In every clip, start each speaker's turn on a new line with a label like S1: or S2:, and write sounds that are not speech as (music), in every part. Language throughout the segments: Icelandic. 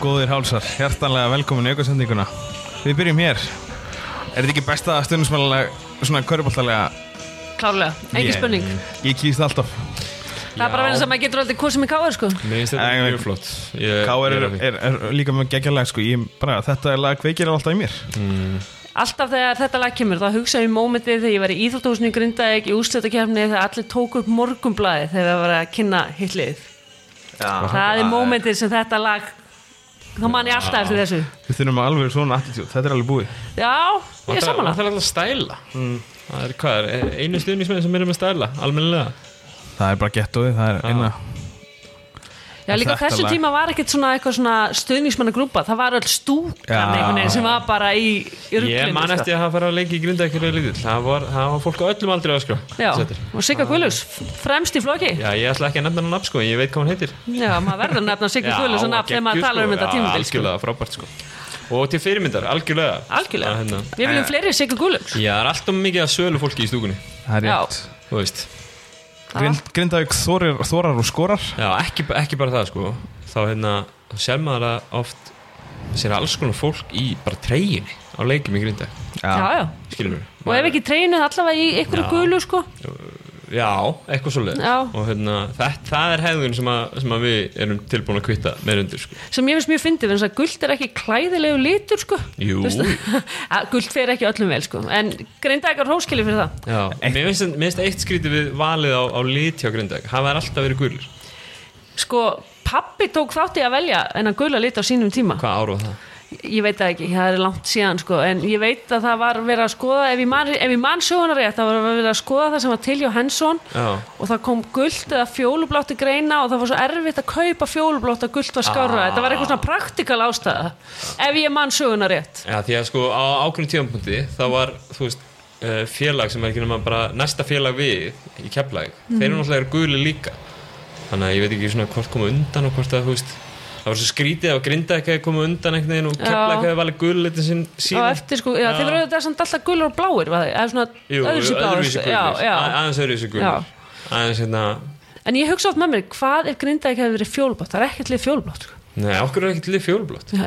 S1: Góðir hálsar, hjartanlega velkomin í aukasendinguna Við byrjum hér Er þetta ekki besta stundismælulega svona köruboltalega?
S2: Klárlega, engin spurning
S1: Ég kýst alltaf
S2: Það er bara verið sem að getur aldrei hvað sem er káður sko
S3: Mér finnst þetta
S1: Nei,
S3: mjög
S1: ég-
S3: flott
S1: K.R. Er, er, er líka með geggjalag sko ég, bara, Þetta er lag kveikir alltaf í mér
S2: Alltaf þegar þetta lag kemur, þá hugsa ég um mómentið þegar ég var í Íþjóttóhusinu í Grindavík í úrslutakefni þegar allir tók upp morgumblæði þegar við varum að kynna hitlið Það er mómentið sem þetta lag þá man ég alltaf eftir þessu
S1: Við þurfum alveg svona attitude, þetta er alveg búið
S2: Já, ég er saman
S3: Það er alltaf stæla
S1: Mm.
S3: Það er hvað, er einu stuðnismenn sem er með stæla Almennilega
S1: Það er bara gettóið, það er eina
S2: Já, líka
S1: Þetta
S2: þessum
S1: lag.
S2: tíma var ekkert svona eitthvað svona stuðningsmannagrúpa, það var öll
S1: Já.
S2: stúkan einhvern veginn sem var bara í, í
S3: Ég man
S2: ruglinu, sko.
S3: eftir að hafa farið að leiki í grinda ekkert litil það var, það var fólk á öllum aldrei að sko
S2: Já, og Sigga Guðlus, fremst í flokki
S3: Já, ég ætla ekki að nefna hann nafn sko, en ég veit hvað hann heitir
S2: Já, maður verður að nefna Sigga Guðlus og nafn þegar maður
S3: geggjuð,
S2: talar um
S3: sko.
S2: þetta
S3: Já,
S2: tímabil sko.
S3: Algjörlega, frábært sko Og til fyrirmyndar, algjörlega
S2: Algjörlega,
S3: Já, hérna.
S2: við viljum fleiri Sigga Guðlus
S3: Já, það er alltaf mikið að sölu fólki í stúkunni
S1: Það er
S2: Já.
S1: rétt
S3: Þú veist
S1: Grind, Grindavík þorir, þorar og skorar
S3: Já, ekki, ekki bara það sko Þá hérna, þá sér maður að oft Sér alls konar fólk í bara treyjunni Á leikjum í grinda
S2: Já, já,
S3: Skilur mér
S2: og ef ekki treynu allavega í ykkur
S3: Já.
S2: guðlu sko
S3: Já, eitthvað svoleiðis
S2: Já.
S3: Og hérna, það, það er hegðun sem, að, sem að við erum tilbúin að kvitta með undir sko
S2: sem ég finnst mjög fyndið, þannig að guld er ekki klæðilegu litur sko
S3: Jú.
S2: Þú veist, (laughs) að guld fer ekki öllum vel sko en grinda ekkert hóskili fyrir það
S3: Já, mér finnst, mér finnst eitt skrítið við valið á, á lit hjá Grindag Það var alltaf verið gulir
S2: sko, pappi tók þátti að velja en að guðla lit á sínum tíma
S3: Hvað ára var það?
S2: ég veit það ekki, það er langt síðan sko, en ég veit að það var verið að skoða ef ég man, ef ég man söguna rétt, það var verið að skoða það sem var til Johansson
S3: Já.
S2: og það kom guld eða fjólublátti greina og það var svo erfitt að kaupa fjólublátt að guld var skárra, þetta var eitthvað svona praktikal ástæða, ef ég man söguna rétt
S3: Já, því að sko á ákveðnum tíðanpunkti þá var, þú veist, eh, félag sem er ekki nema bara næsta félag við í Keflæk, þeir
S2: Mhm.
S3: eru náttúrulega eru guli líka þannig að ég veit ekki svona hvort koma undan og hvort að, þú veist, það var svo skrítið að Grindag hefði koma undan einhvern veginn og
S2: Já.
S3: Keflæk hefði valið guli litin sinn
S2: og
S3: síðan
S2: eftir sko, já, þeir voru þetta samt alltaf gulur og bláir, var það, eða svona
S3: Jú,
S2: öðruvísi bláir,
S3: öðruvísi
S2: sko.
S3: gulir,
S2: já, já.
S3: aðeins öðruvísi
S2: Já.
S3: gulir aðeins hérna,
S2: en ég hugsa oft með mér, hvað ef grinda hefði verið fjólublátt, það er ekkert lið fjólublátt sko.
S3: nei, okkur er ekkert lið fjólblótt
S1: Já,
S2: Já,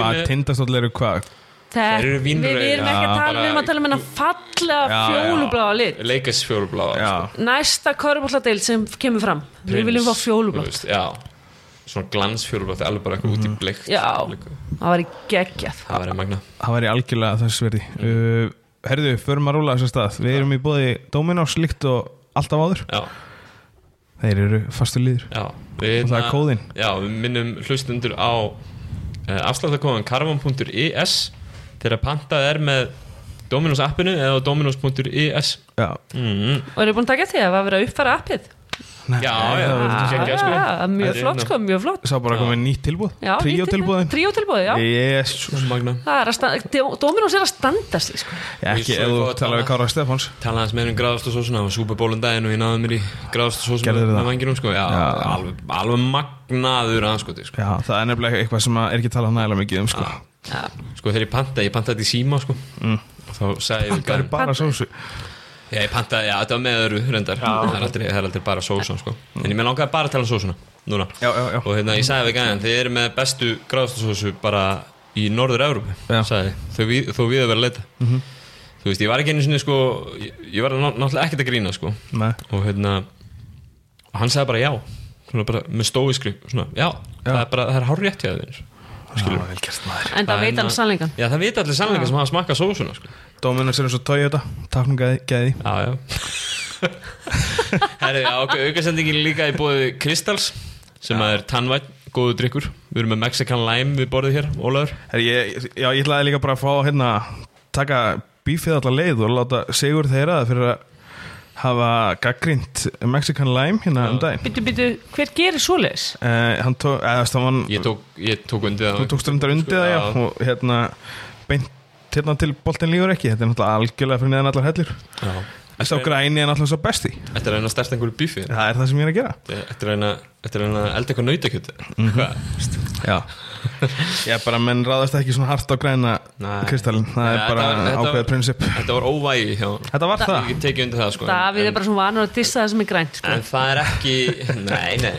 S1: Eh, hvað
S3: með-
S1: tindastóll eru hvað
S2: Þetta,
S3: Þeir eru
S2: við,
S3: vínrauðir.
S2: við erum ekki að
S3: Já,
S2: tala, við erum
S3: bara-
S2: að tala um hennar fallega
S1: Já, já.
S2: fjólubláa lit
S3: leikas fjólblá
S1: Já,
S2: Næsta körubólladeild sem kemur fram Við viljum fá fjólublátt Mhm.
S3: svona glansfjólblótt, alveg bara eitthvað út í bleikt
S2: Já,
S3: Líka.
S2: það var í geggjað
S3: það verið magna
S1: það væri algjörlega þess verði uh, Herðu, förum að rúla þessar stað Við erum í bóði Dominos líkt og alltaf áður
S3: já
S1: Þeir eru fastu líður
S3: Já, við,
S1: Og það er kóðinn.
S3: Já, við minnum hlustundur á uh, afsláttakóðan karvan.is þegar pantað er með Dominos appinu eða á dominos.is
S1: Já,
S3: mm.
S2: Og eru búin að taka eftir því að það var verið að uppfæra appið
S1: Nei,
S3: Já,
S1: nei,
S3: já.
S1: það var-
S3: Ah. geggjað, sko.
S2: Já,
S3: Þetta
S2: Mjög
S3: er
S2: flott
S3: hérna-
S2: sko, mjög flott
S1: Sá bara komið nýtt tilbúð Tríó tilbúðin
S2: Tríótilbúði, já
S1: Jésús
S3: Magna
S2: Það er að standa, Dominós er að standa sig sko.
S1: Ekki
S3: Ég
S1: ef
S3: svo
S1: þú
S3: gott
S1: tala við
S3: annað.
S1: Kára Stefáns
S3: Talaði hans með um gráðastasósuna og súpubólum daginn og ég náði mér í gráðastasósuna
S1: Gerðirðu
S3: með
S1: það?
S3: vanginum sko Já,
S1: Já.
S3: Alveg, alveg magnaður anskoti sko.
S1: Já, það er nefnilega eitthvað sem að er ekki talað nægilega mikið um sko
S3: sko þegar ég pantaði, ég pantaði þetta í síma sko
S1: Mm.
S3: og þá sagði ég við
S1: Það eru
S3: gæðan-
S1: bara sósu
S3: Já, ég pantaði, já, þetta var með öru reyndar það er, aldrei, það er aldrei bara sósan sko En ég með langaði bara að tala um sósuna núna
S1: Mm. Já, já, já
S3: og hérna ég sagði við gæðan þið eru með bestu gráðstasósu bara í norður Evrópu
S1: Já. Mhm.
S3: sagði, ég, þó, við, þó við að vera að leita þú veist ég var ekki einu sinni sko ég, ég var ná, náttúrulega ekkert að grína sko
S1: Nei,
S3: og hérna og hann sagði bara já svona bara með stóiskri svona já, það er bara það er hár rétt hjá þeir
S1: það var vel gert maður
S2: En það veit hann sannleikan
S3: hérna- já það veit allir sannleika sem hafa smakkað sósuna sko
S1: Dominus er eins og Toyota Taknum gæði
S3: já já (laughs) herri já ok aukasendingin líka í bóði Kristals sem er tannvætt góðu drikkur við erum með Mexican Lime við borðið hér Ólaður
S1: Herri, ég, já, ég ætlaði líka bara að fá hérna taka bífið allar leið og láta Sigur þeirra fyrir að hafa gaggrind Mexican Lime hérna um daginn
S2: Byttu, byttu, hver gerir svoleiðis?
S1: uh, hann tók, eða það var
S3: Ég Sko, tók, ég tók undir það
S1: þú tókst reyndar undir það já og hérna beint hérna til boltin lífur ekki þetta er náttúrulega algjörlega fyrir neðan allar hellir
S3: Já.
S1: þessi á græni er náttúrulega svo besti
S3: Þetta er að reyna að starta einhverju bífi
S1: það er það sem ég er að gera
S3: Þetta er að reyna, þetta er að reyna að elda eitthvað nautakjöt
S1: Mhm.
S3: mm -hmm.
S1: (laughs) já ég er bara menn ráðast ekki svona hart á græna
S3: Nei.
S1: kristallin það er
S3: Nei,
S1: bara
S3: þetta var- þetta var-
S1: ákveðið prinsip
S3: Þetta var óvægi hjá honum.
S1: þetta var
S3: Ég
S1: það
S3: get tekið undir það sko
S2: Davíð
S3: en, (laughs)
S2: er bara svona vanur að dissa það sem er grænt sko.
S3: en það er ekki Nei, nei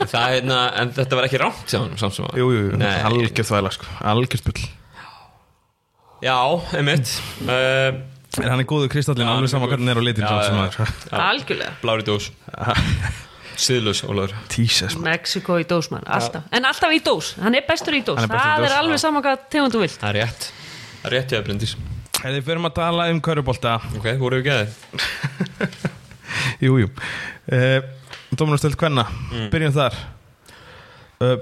S3: En það, hérna, en þetta var ekki rámt hjá hann samt sem að
S1: Jú, jú, jú,
S3: Nei.
S1: algjörð þvæla sko, algjörð bull
S3: Já, einmitt uh,
S1: En hann er góður kristallin,
S3: hann er
S1: alveg sama
S3: góður.
S1: hvernig hann er á litin
S3: Já,
S1: samt sem
S3: já,
S1: að-
S2: algjörlega
S3: Blári dós (laughs) Siðlaus, Ólafur
S1: (laughs) Jesus, man.
S2: Mexiko í dós mann, alltaf en alltaf í dós, hann er bestur í dós
S1: Hann er bestur í
S2: það
S1: dós,
S2: er alveg
S3: já.
S2: saman hvað tegund þú vilt
S3: Það er rétt Það er rétt ég að brendis
S1: Þegar við förum að tala um körubólta
S3: Ok, voru við gæðið
S1: Jú, jú uh, Dóminastöld Kvenna,
S3: Mm.
S1: byrjum þar uh,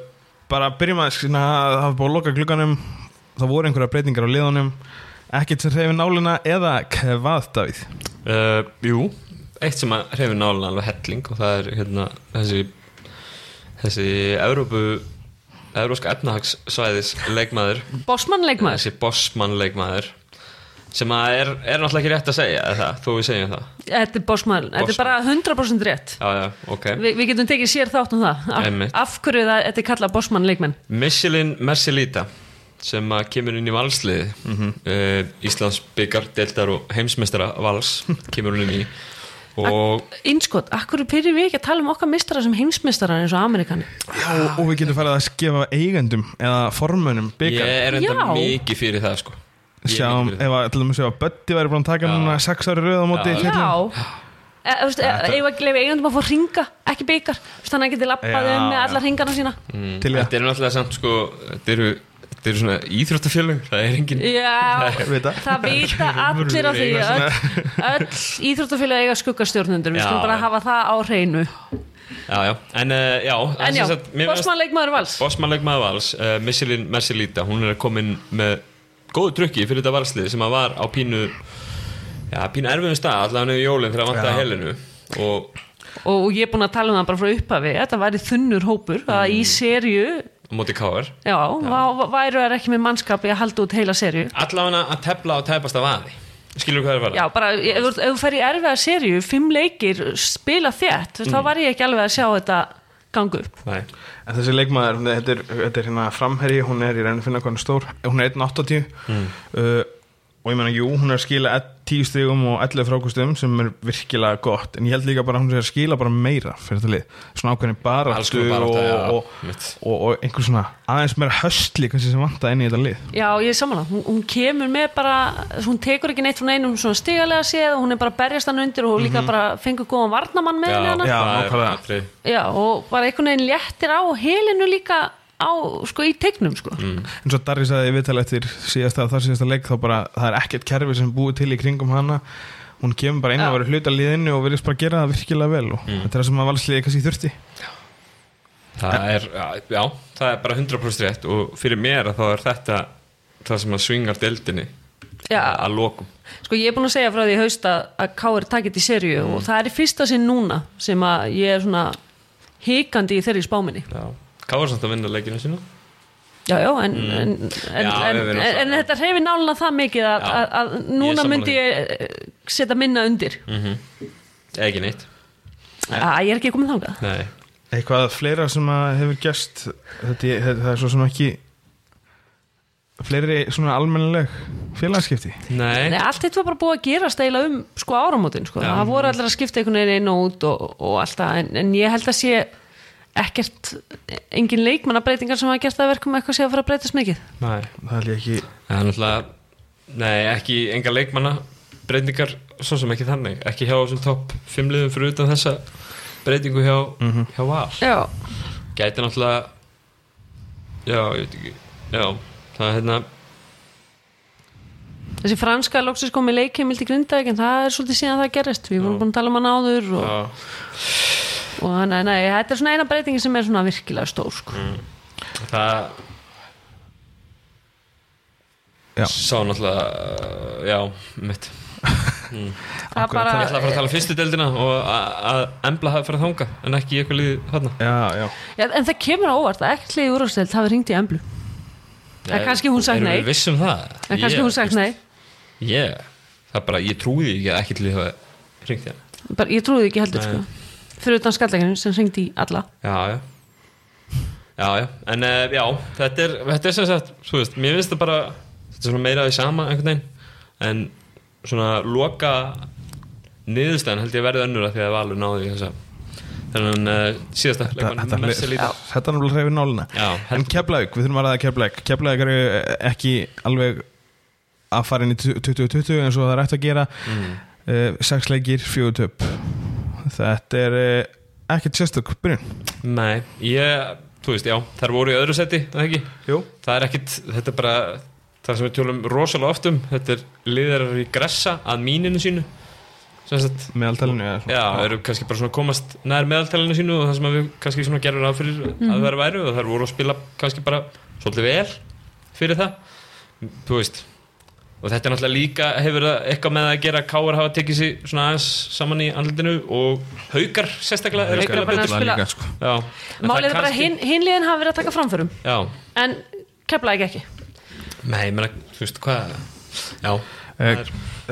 S1: Bara byrjum að sinna, það hafa búið að loka glugganum Það voru einhverja breytingar á liðunum Ekkert sem reyfi nálina eða hvað Davíð
S3: uh, Jú, eitt sem að hreyfir nálan alveg helling og það er hérna þessi þessi Európu Európska efnahagssvæðis leikmaður
S2: bossmann leikmaður,
S3: þessi bossmann leikmaður sem að er, er náttúrulega ekki rétt að segja er það, þó við segjum það
S2: þetta er bossmann þetta er bara 100% rétt
S3: Já, já, ok
S2: Vi, við getum tekið sér þátt um það af,
S3: Einmitt.
S2: af hverju það, þetta er kallað bossmann leikmenn
S3: Michelin Mercelita sem að kemur inn í valsliði mm Íslands byggar, deltar og heimsmeistara vals kemur hún inn í og
S2: Innskot, af hverju pyrir við ekki að tala um okkar mistara sem heimsmistara eins og Amerikani
S1: Já, og, og við getum farið að skefa eigendum eða formönum
S3: ég
S1: byggar
S3: er enda
S2: Já.
S3: mikið fyrir það sko Ég er
S1: Sjáum,
S3: mikið fyrir
S1: ef að, til dæmis ef að Böddi væri búin að taka núna sex ári rauð á móti
S3: Já.
S1: Tyrklandi.
S2: Já Eh, þú veist, eh, eigum við að leifa eigandum að fá ringa ekki byggar, þannig að hann geti lappað
S1: Já,
S2: um með
S1: já.
S2: alla ringana sína
S3: það.
S1: Til í það.
S3: Mm. þetta er náttúrulega samt sko þetta eru, þetta eru svona íþróttafjölug það er engin
S2: Já,
S1: Veit það.
S2: það
S1: (laughs)
S2: vita allir á því
S3: Eiga
S2: öll, öll íþróttafélag eiga skuggastjórnundur, við
S3: Já,
S2: skulum bara
S3: já.
S2: hafa það á hreinu
S3: já, já. en uh, já,
S2: En já, bossmann leikmaður vals
S3: bossmannleikmaður vals uh, Michelin Mercelita, hún er komin með góðu trukki fyrir þetta valslið sem að var á pínu já, pínu erfiðum stað allavega nefnir jólinn þegar að vantaði helinu og
S2: og, og ég er búin að tala um það bara frá upphafi þetta væri þunnur hópur að í serju,
S3: á móti káar
S2: Mm. já, já. væru þær ekki með mannskapi að halda út heila serju
S3: allavega að tefla og tæpast af aði skilur hvað það er að fara
S2: Já, bara ef þú- ef þú fer í erfiða serju, fimm leikir spila þétt, þú veist, þá var ég ekki alveg að sjá þetta gangu upp
S3: Nei.
S1: En þessi leikmaður, hún- þetta er, þetta er hérna framherji, hún er í reyna að finna hvað hún er stór hún er 1.80
S3: Mm.
S1: uh, og ég meina, jú, hún er að skila 10 stigum og 11 frákustum sem er virkilega gott, en ég held líka bara að hún er að skila bara meira fyrir þetta lið, svona ákveðin
S3: Alls
S1: baráttu
S3: konar
S1: og,
S3: barátta,
S1: og,
S3: já,
S1: og,
S3: mitt.
S1: og, og einhver svona aðeins meira höstli kannski sem vanta inn í þetta lið
S2: Já, ég er samanlega, hún, hún kemur með bara hún tekur ekki neitt frá neinum svona stigalega séð og hún er bara að berjast hann undir og
S3: Mhm.
S2: líka bara fengur góðan varnamann með henni hana já.
S1: Já,
S3: það er
S1: nákvæmlega.
S3: atrið.
S2: og bara einhvern veginn léttir á helinu líka á, sko, í tegnum sko.
S3: Mm.
S1: En svo Darri sagði viðtal eftir síðasta þar síðasta leik þá bara það er ekkert kerfi sem er búið til í kringum hana hún kemur bara inn og
S2: Já.
S1: verið hluta liðinu og verðist bara gera það virkilega vel og
S3: Mm.
S1: þetta er það sem að valsliði kannski þurfti
S3: það er já, það er bara 100% rétt og fyrir mér að þá er þetta það sem að svingar deildinni
S2: Já.
S3: að lokum
S2: sko, ég er búin að segja frá því í haust að, að Káir takit í serju
S3: Mm.
S2: og það er í fyrsta sinn núna sem að ég er svona hikandi í þeirri spáminni
S3: Káar samt að vinna leikinu sína
S2: Já, já, en, en, en,
S3: Mm. Já,
S2: en,
S3: við
S2: en,
S3: erum svo-
S2: en þetta hreyfi nála það mikið að,
S3: Já.
S2: að, að núna
S3: sammála
S2: myndi
S3: því. Mm.
S2: ég eh, setja minna undir
S3: eða ekki neitt
S2: Æ, ég er ekki komin þangað
S3: Nei.
S1: Eitthvað fleira sem að hefur gæst þetta, er- þetta er svo sem ekki fleiri svona almennileg félagskipti
S3: Nei.
S2: Nei, allt þetta var bara búið að gera steila um sko áramótin, sko.
S3: Já.
S2: það voru allir að skipta einhvern veginn inn og út og, og allt það en, en ég held að sé ekkert engin leikmannabreitingar sem hafa gert það að verkum að eitthvað sé að fara að breytast mikið
S1: Nei. það held ég ekki
S3: Það er náttúrulega, nei, ekki enga leikmanna breytingar, svo sem ekki þannig ekki hjá þessum topp fimmliðum fyrir utan þessa breytingu hjá, hjá Val
S2: Já,
S3: gæti náttúrulega já, ég veit ekki já, það er hérna
S2: þessi franska loksins komið leikheimild í Grindavík en það er svolítið síðan það gerist við vorum búin að tala um hann áður og,
S3: já,
S2: og nei, nei, þetta er svona eina breytingin sem er svona virkilega stór sko.
S3: Mm. það
S1: Já.
S3: sá náttúrulega já, mitt
S2: það er bara
S3: ég ætla að fara að tala um fyrstu deildina og að- að embla hafa farið þanga en ekki í eitthvað liðið þarna
S1: Já, já,
S2: já, en það kemur á óvart að ekkert liðið úrvarsdeild hafi ringt í emblu En kannski hún sagt
S3: Erum
S2: nei.
S3: við vissum um það?
S2: en kannski
S3: Ég-
S2: hún sagt nei
S3: Yeah, það er bara, ég trúi því ekki að ekki til því að hringt hérna
S2: bara, ég trúið ekki heldur
S3: Nei.
S2: sko. fyrir utan skalleginu sem ringdi í alla
S3: Já, já Já, já, en uh, já, þetta er, þetta er sem sagt, þú veist, mér finnst það bara þetta er svona meira því sama einhvern veginn en svona loka niðurstæðan held ég verði önnur að því að Valur náði í þessa þannig uh, síðasta leikmann
S1: Þetta
S3: Messi
S1: þetta-
S3: líta
S1: þetta er náttúrulega hreyfir nálina
S3: Já,
S1: En
S3: heldur.
S1: Keflavík, við þurfum að ræða Keflavík Keflavík eru ekki alveg að fara inn í 2020 eins og það er eftir að gera mm. sex leikir, fjögur töp Þetta er uh, ekkert sérstök byrjun
S3: Nei, ég, þú veist, já, þær voru í öðru seti, það ekki?
S1: Jú.
S3: Það er ekkit, þetta er bara, það sem við tjólum rosalega oft um, þetta er liðarar í gressa að míninu sínu, sem sagt,
S1: meðaltalinu eða svona.
S3: já, eru kannski bara svona að komast nær meðaltælinu sínu og það sem að við kannski svona gerum ráð fyrir
S2: Mhm.
S3: að vera væru og þær voru að spila kannski bara svolítið vel fyrir það, þú veist, og þetta er náttúrulega líka hefur það eitthvað með að gera að Káar hafa tekið sér svona aðeins saman í andlutinu og haukar sérstaklega eru að
S2: Haukar
S3: spila
S2: bara
S3: betur.
S2: að spila.
S1: Líka, sko.
S3: Já, en það
S2: Málið er bara
S3: kannski-
S2: hin- hinliðin hafa verið að taka framförum
S3: Já,
S2: en keflaði ekki
S3: nei, ég meina, þú veist hvað Já,
S1: Eh,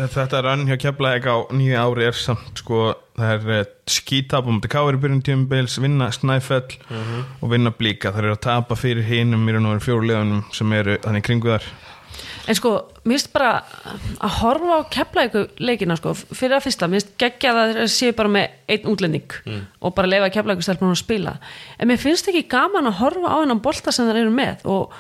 S1: Þetta rann hjá Keflavík á nýju ári er samt sko, það er skítap á múti káir í byrjun tímubils, vinna snæfell
S2: Mhm.
S1: og vinna blíka, það eru að tapa fyrir hinum í raun og veru fjóruleðunum sem eru þannig í kringu þar
S2: En sko, mér finnst bara að horfa á keflaðið leikina sko, fyrir að fyrsta, mér finnst geggja að það sé bara með einn útlending og bara leifa keflaðið stelpunum að spila en mér finnst ekki gaman að horfa á hennan bolta sem það eru með og,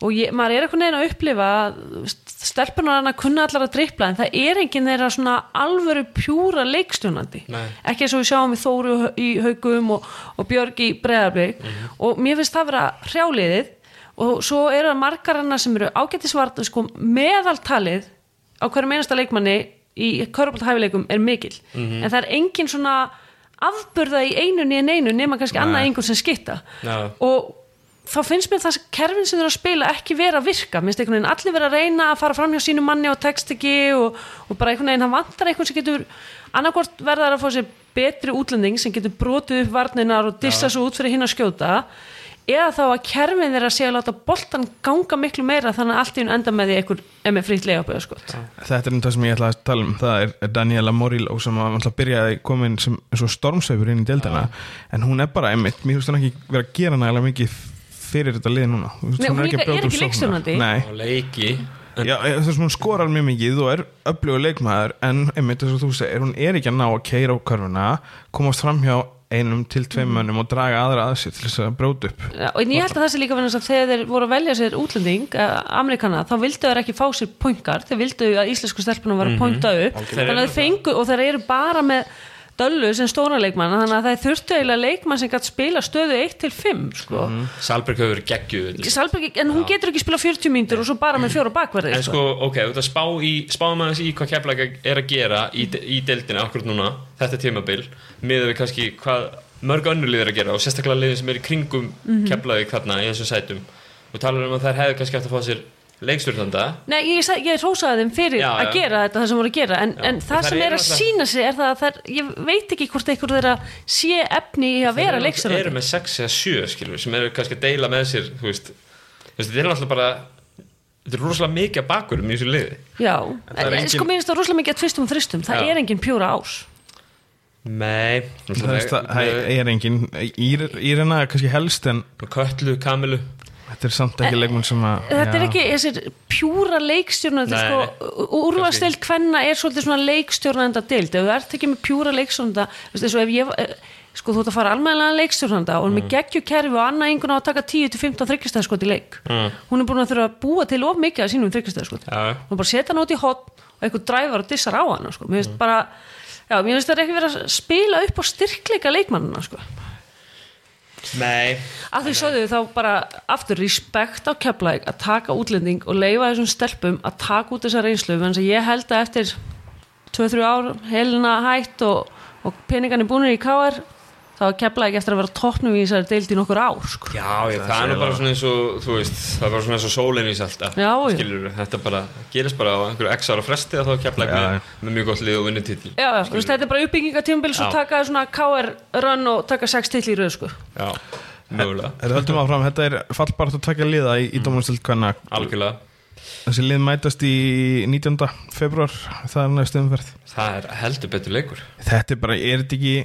S2: og ég, maður er einhvern veginn að upplifa að stelpunum hann að kunna allar að drippla en það er enginn þeirra svona alvöru pjúra leikstjónandi
S3: Nei.
S2: ekki eins og við sjáum í Þóru í haugum og, og Björg í Breiðarblik og mér finnst það vera hrjáliðið og svo eru það margar hennar sem eru ágættisvart sko, meðaltalið á hverjum einasta leikmanni í körbólthæfileikum er mikil en það er engin svona afburða í einu né einu nema kannski annað einhvern sem skitta
S3: Já.
S2: og þá finnst mér það kerfin sem þeir eru að spila ekki vera að virka, minnst einhvern veginn allir vera að reyna að fara fram hjá sínu manni og text ekki og, og bara einhvern veginn, það vantar einhvern sem getur annarkvort verða þær að fá sér betri útlending sem getur brotið upp varninar og dissa svo út fyrir hinn að skjóta eða þá að kerfin þeirra sé að láta boltan ganga miklu meira þannig að allt í hún enda með því einhver emmi frýtt leiðaböða skot
S1: Þetta er um það sem ég ætla að tala um það er Daniela Moriló sem að alltaf byrjaði komin sem eins og stormsveifur inn í deildana en hún er bara einmitt, mér finnst hún ekki vera að gera nægilega mikið fyrir þetta lið núna Þú veist,
S2: Nei, hún líka
S1: brjóta
S2: er
S1: úr
S2: ekki
S1: sóknar.
S2: leikstjórnandi.
S1: Nei,
S3: á leiki
S1: Já, ég- þess að hún skorar mjög mikið og er öflugur leikmaður en einmitt þess að þú segir, hún er ekki að ná að keira á körfuna, komast fram hjá einum til tveim
S2: Mm.
S1: mönnum og draga aðra að sér til þess að bróta upp
S2: Já, og ég held að það sé líka verið þess að þegar þeir voru að velja sér útlending, eh, Amerikana þá vildu þeir ekki fá sér poingar, þeir vildu að íslensku stelpunum
S3: Mhm,
S2: var að pointa upp þannig að þeir fengu og þeir eru bara með döllu sem stóra leikmann, þannig að þeir þurftu eiginlega leikmann sem gætt spila stöðu 1 til 5 sko.
S3: Mhm. Salberg hefur verið geggjuð
S2: Salberg, en hún getur ekki spila 40 mínútur og svo bara með fjóra bakverði
S3: En sko, ok, þú ert að spá í spáum aðeins í hvað keflæk er að gera í, í deildina akkurat núna, þetta tímabil miðað við kannski hvað mörg önnur lið er að gera og sérstaklega liðin sem er í kringum mm
S2: Mhm.
S3: -hmm. þarna í þessum sætum og talar um að þær hefðu kannski hægt að fá sér leikstjórnanda
S2: Nei, ég, sa- ég hrósaði þeim fyrir
S3: Já,
S2: að
S3: já.
S2: gera þetta, það sem voru að gera en, en það
S3: þær
S2: sem er
S3: eru
S2: að
S3: náttúrulega-
S2: sína sig er það að það ég veit ekki hvort einhver þeirra sé efni í að vera
S3: Þeir
S2: leiksarandi
S3: eru með 6 eða 7 skilur sem eru kannski að deila með sér þú veist, Þú veist, þetta er náttúrulega bara þetta er rosalega mikið að bakurum í þessu liði
S2: Já,
S1: það er
S2: en
S1: engin-
S2: sko mér finnst það rosalega mikið að tvistum og þristum, það
S3: Já.
S2: er engin pjúra ás
S3: Nei
S1: Það er, það, það er engin Írena er kannski helst en
S3: Köllu, Kamilu
S1: þetta er samt ekki leikmann sem að
S2: Eh, Þetta er
S1: já.
S2: ekki þessir pjúra leikstjórnandi
S3: Nei,
S2: sko, úrvastild hvenna er svolítið svona leikstjórnanda dild ef þú ert ekki með pjúra leikstjórnanda veist, eins og ef ég, eh, sko þú ert að fara almennlega leikstjórnanda og mm. með geggjukerfi og annað einhvern á að taka 10-15 þryggistæðskot í leik hún er búin að þurfa að búa til of mikið af sínum þryggistæðskot
S3: Já.
S2: hún bara setja hann út í hot og einhver dræfar og dissar á hann sko. mér finnst bara, já, mér finnst það ekki verið að spila upp á styrkleika leikmannina sko.
S3: Nei
S2: að því sögðu þá bara aftur respekt á keflæk að taka útlending og leifa þessum stelpum að taka út þessa reynslu þannig að ég held að eftir 2-3 ár helina hætt og, og peningarnir búinir í KR þá er keflæk eftir að vera toppnum í þessari deild í nokkur ár sko.
S3: Já, ég, það, er nú bara svona eins og þú veist, það er bara svona eins og sólinn í salta
S2: Já, já.
S3: skilur, þetta bara gerist bara á einhverju x ára fresti að þá kefla
S1: Já, já.
S3: með, með mjög gott lið og vinnutitil
S2: Já, já, þú veist, þetta er bara uppbyggingatímbils og
S3: Já.
S2: taka svona KR run og taka 6 til í röð sko.
S3: Já, mögulega,
S1: Þetta höldum áfram, þetta er fallbart að taka liða í, í
S2: Mm.
S1: dómarstöld hvenna
S3: algjörlega
S1: þessi lið mætast í 19. februar, það er næstu umferð
S3: Það er heldur betur leikur
S1: þetta er bara, er þetta ekki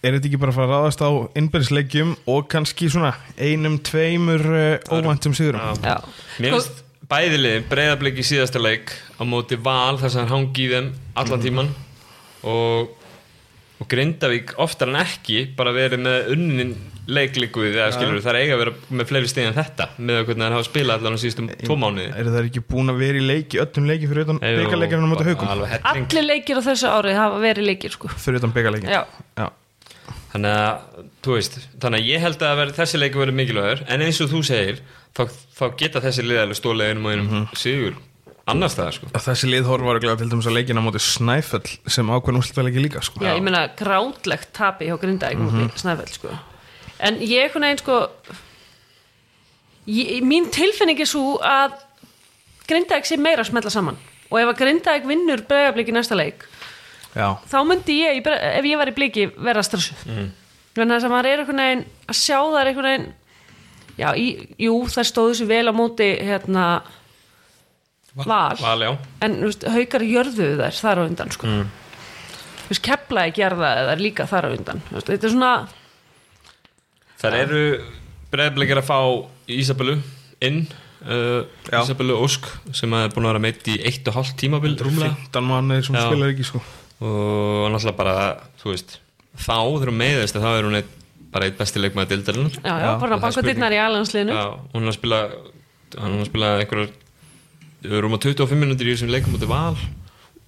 S1: er þetta ekki bara að fara að ráðast á innbyrðisleikjum og kannski svona einum, tveimur uh, óvæntum sigurum
S2: Já.
S3: Mér
S2: Sko-
S3: finnst bæði liðin breyðablik í síðasta Mhm. leik á móti val þar sem hann hangi í þeim allan tíman og, og Grindavík oftar en ekki bara verið með unnin leiklíkuð eða skilur það er eiga að vera með fleiri stegið en þetta með að hvernig það hafa spilað allan á síðustum tvo mánuði
S1: Eru það ekki búin að vera í leiki, öllum leiki fyrir utan byggarleikir hann á móti
S3: Bara
S1: haugum?
S3: alveg helling.
S2: Allir leikir á þessu ári hafa verið leikir sko.
S1: Fyrir utan byggarleikir?
S2: Já.
S1: Já.
S3: þannig að, þú veist, þannig að ég held að veri, þessi leikur verið mikilvægur en eins og þú segir, þá, þá geta þessi liðalega stólega einum og einum
S1: Mhm.
S3: sigur annars það sko
S1: Þessi lið horfa örglega til dæmis að leikina móti Snæfell sem ákveðin úrslutaleiki líka sko.
S2: Já, ég meina grátlegt tapi hjá Grindavík mm -hmm. Snæfell sko. En ég einhvern veginn sko ég, mín tilfinning er svo að Grindavík sé meira að smetla saman og ef að Grindavík vinnur bregðarblik í næsta leik
S1: Já.
S2: þá myndi ég, í Bre- ef ég var í bliki vera stressuð mm. þannig að maður er einhvern veginn að sjá þar einhvern veginn já, í, jú, það stóðu sér vel á móti hérna Val,
S3: Val, já,
S2: en þú veist, haukar jörðuðu þær þar á undan sko. mm. veist, kepla ekki jarðaði þær líka þar á undan Þú veist, þetta er svona
S3: þar eru breyðblikir að fá Ísabellu inn uh,
S1: Já.
S3: Ísabellu Ósk sem að er búin að vera meitt í eitt og hálft tímabil rúmlega
S1: 15 mánuðir sem
S3: Já.
S1: spilar ekki sko.
S3: og náttúrulega bara, þú veist þá þegar hún meiðist að þá er hún eitt, bara eitt besti leikmaði dildarinn
S2: já, já, bara að
S3: það er
S2: banka
S3: spurning.
S2: dittnar í alhansliðinu
S3: Já, hún er að spila hann er að spila einhverjar eh, rúma 25 minútur í þessum leikum út í val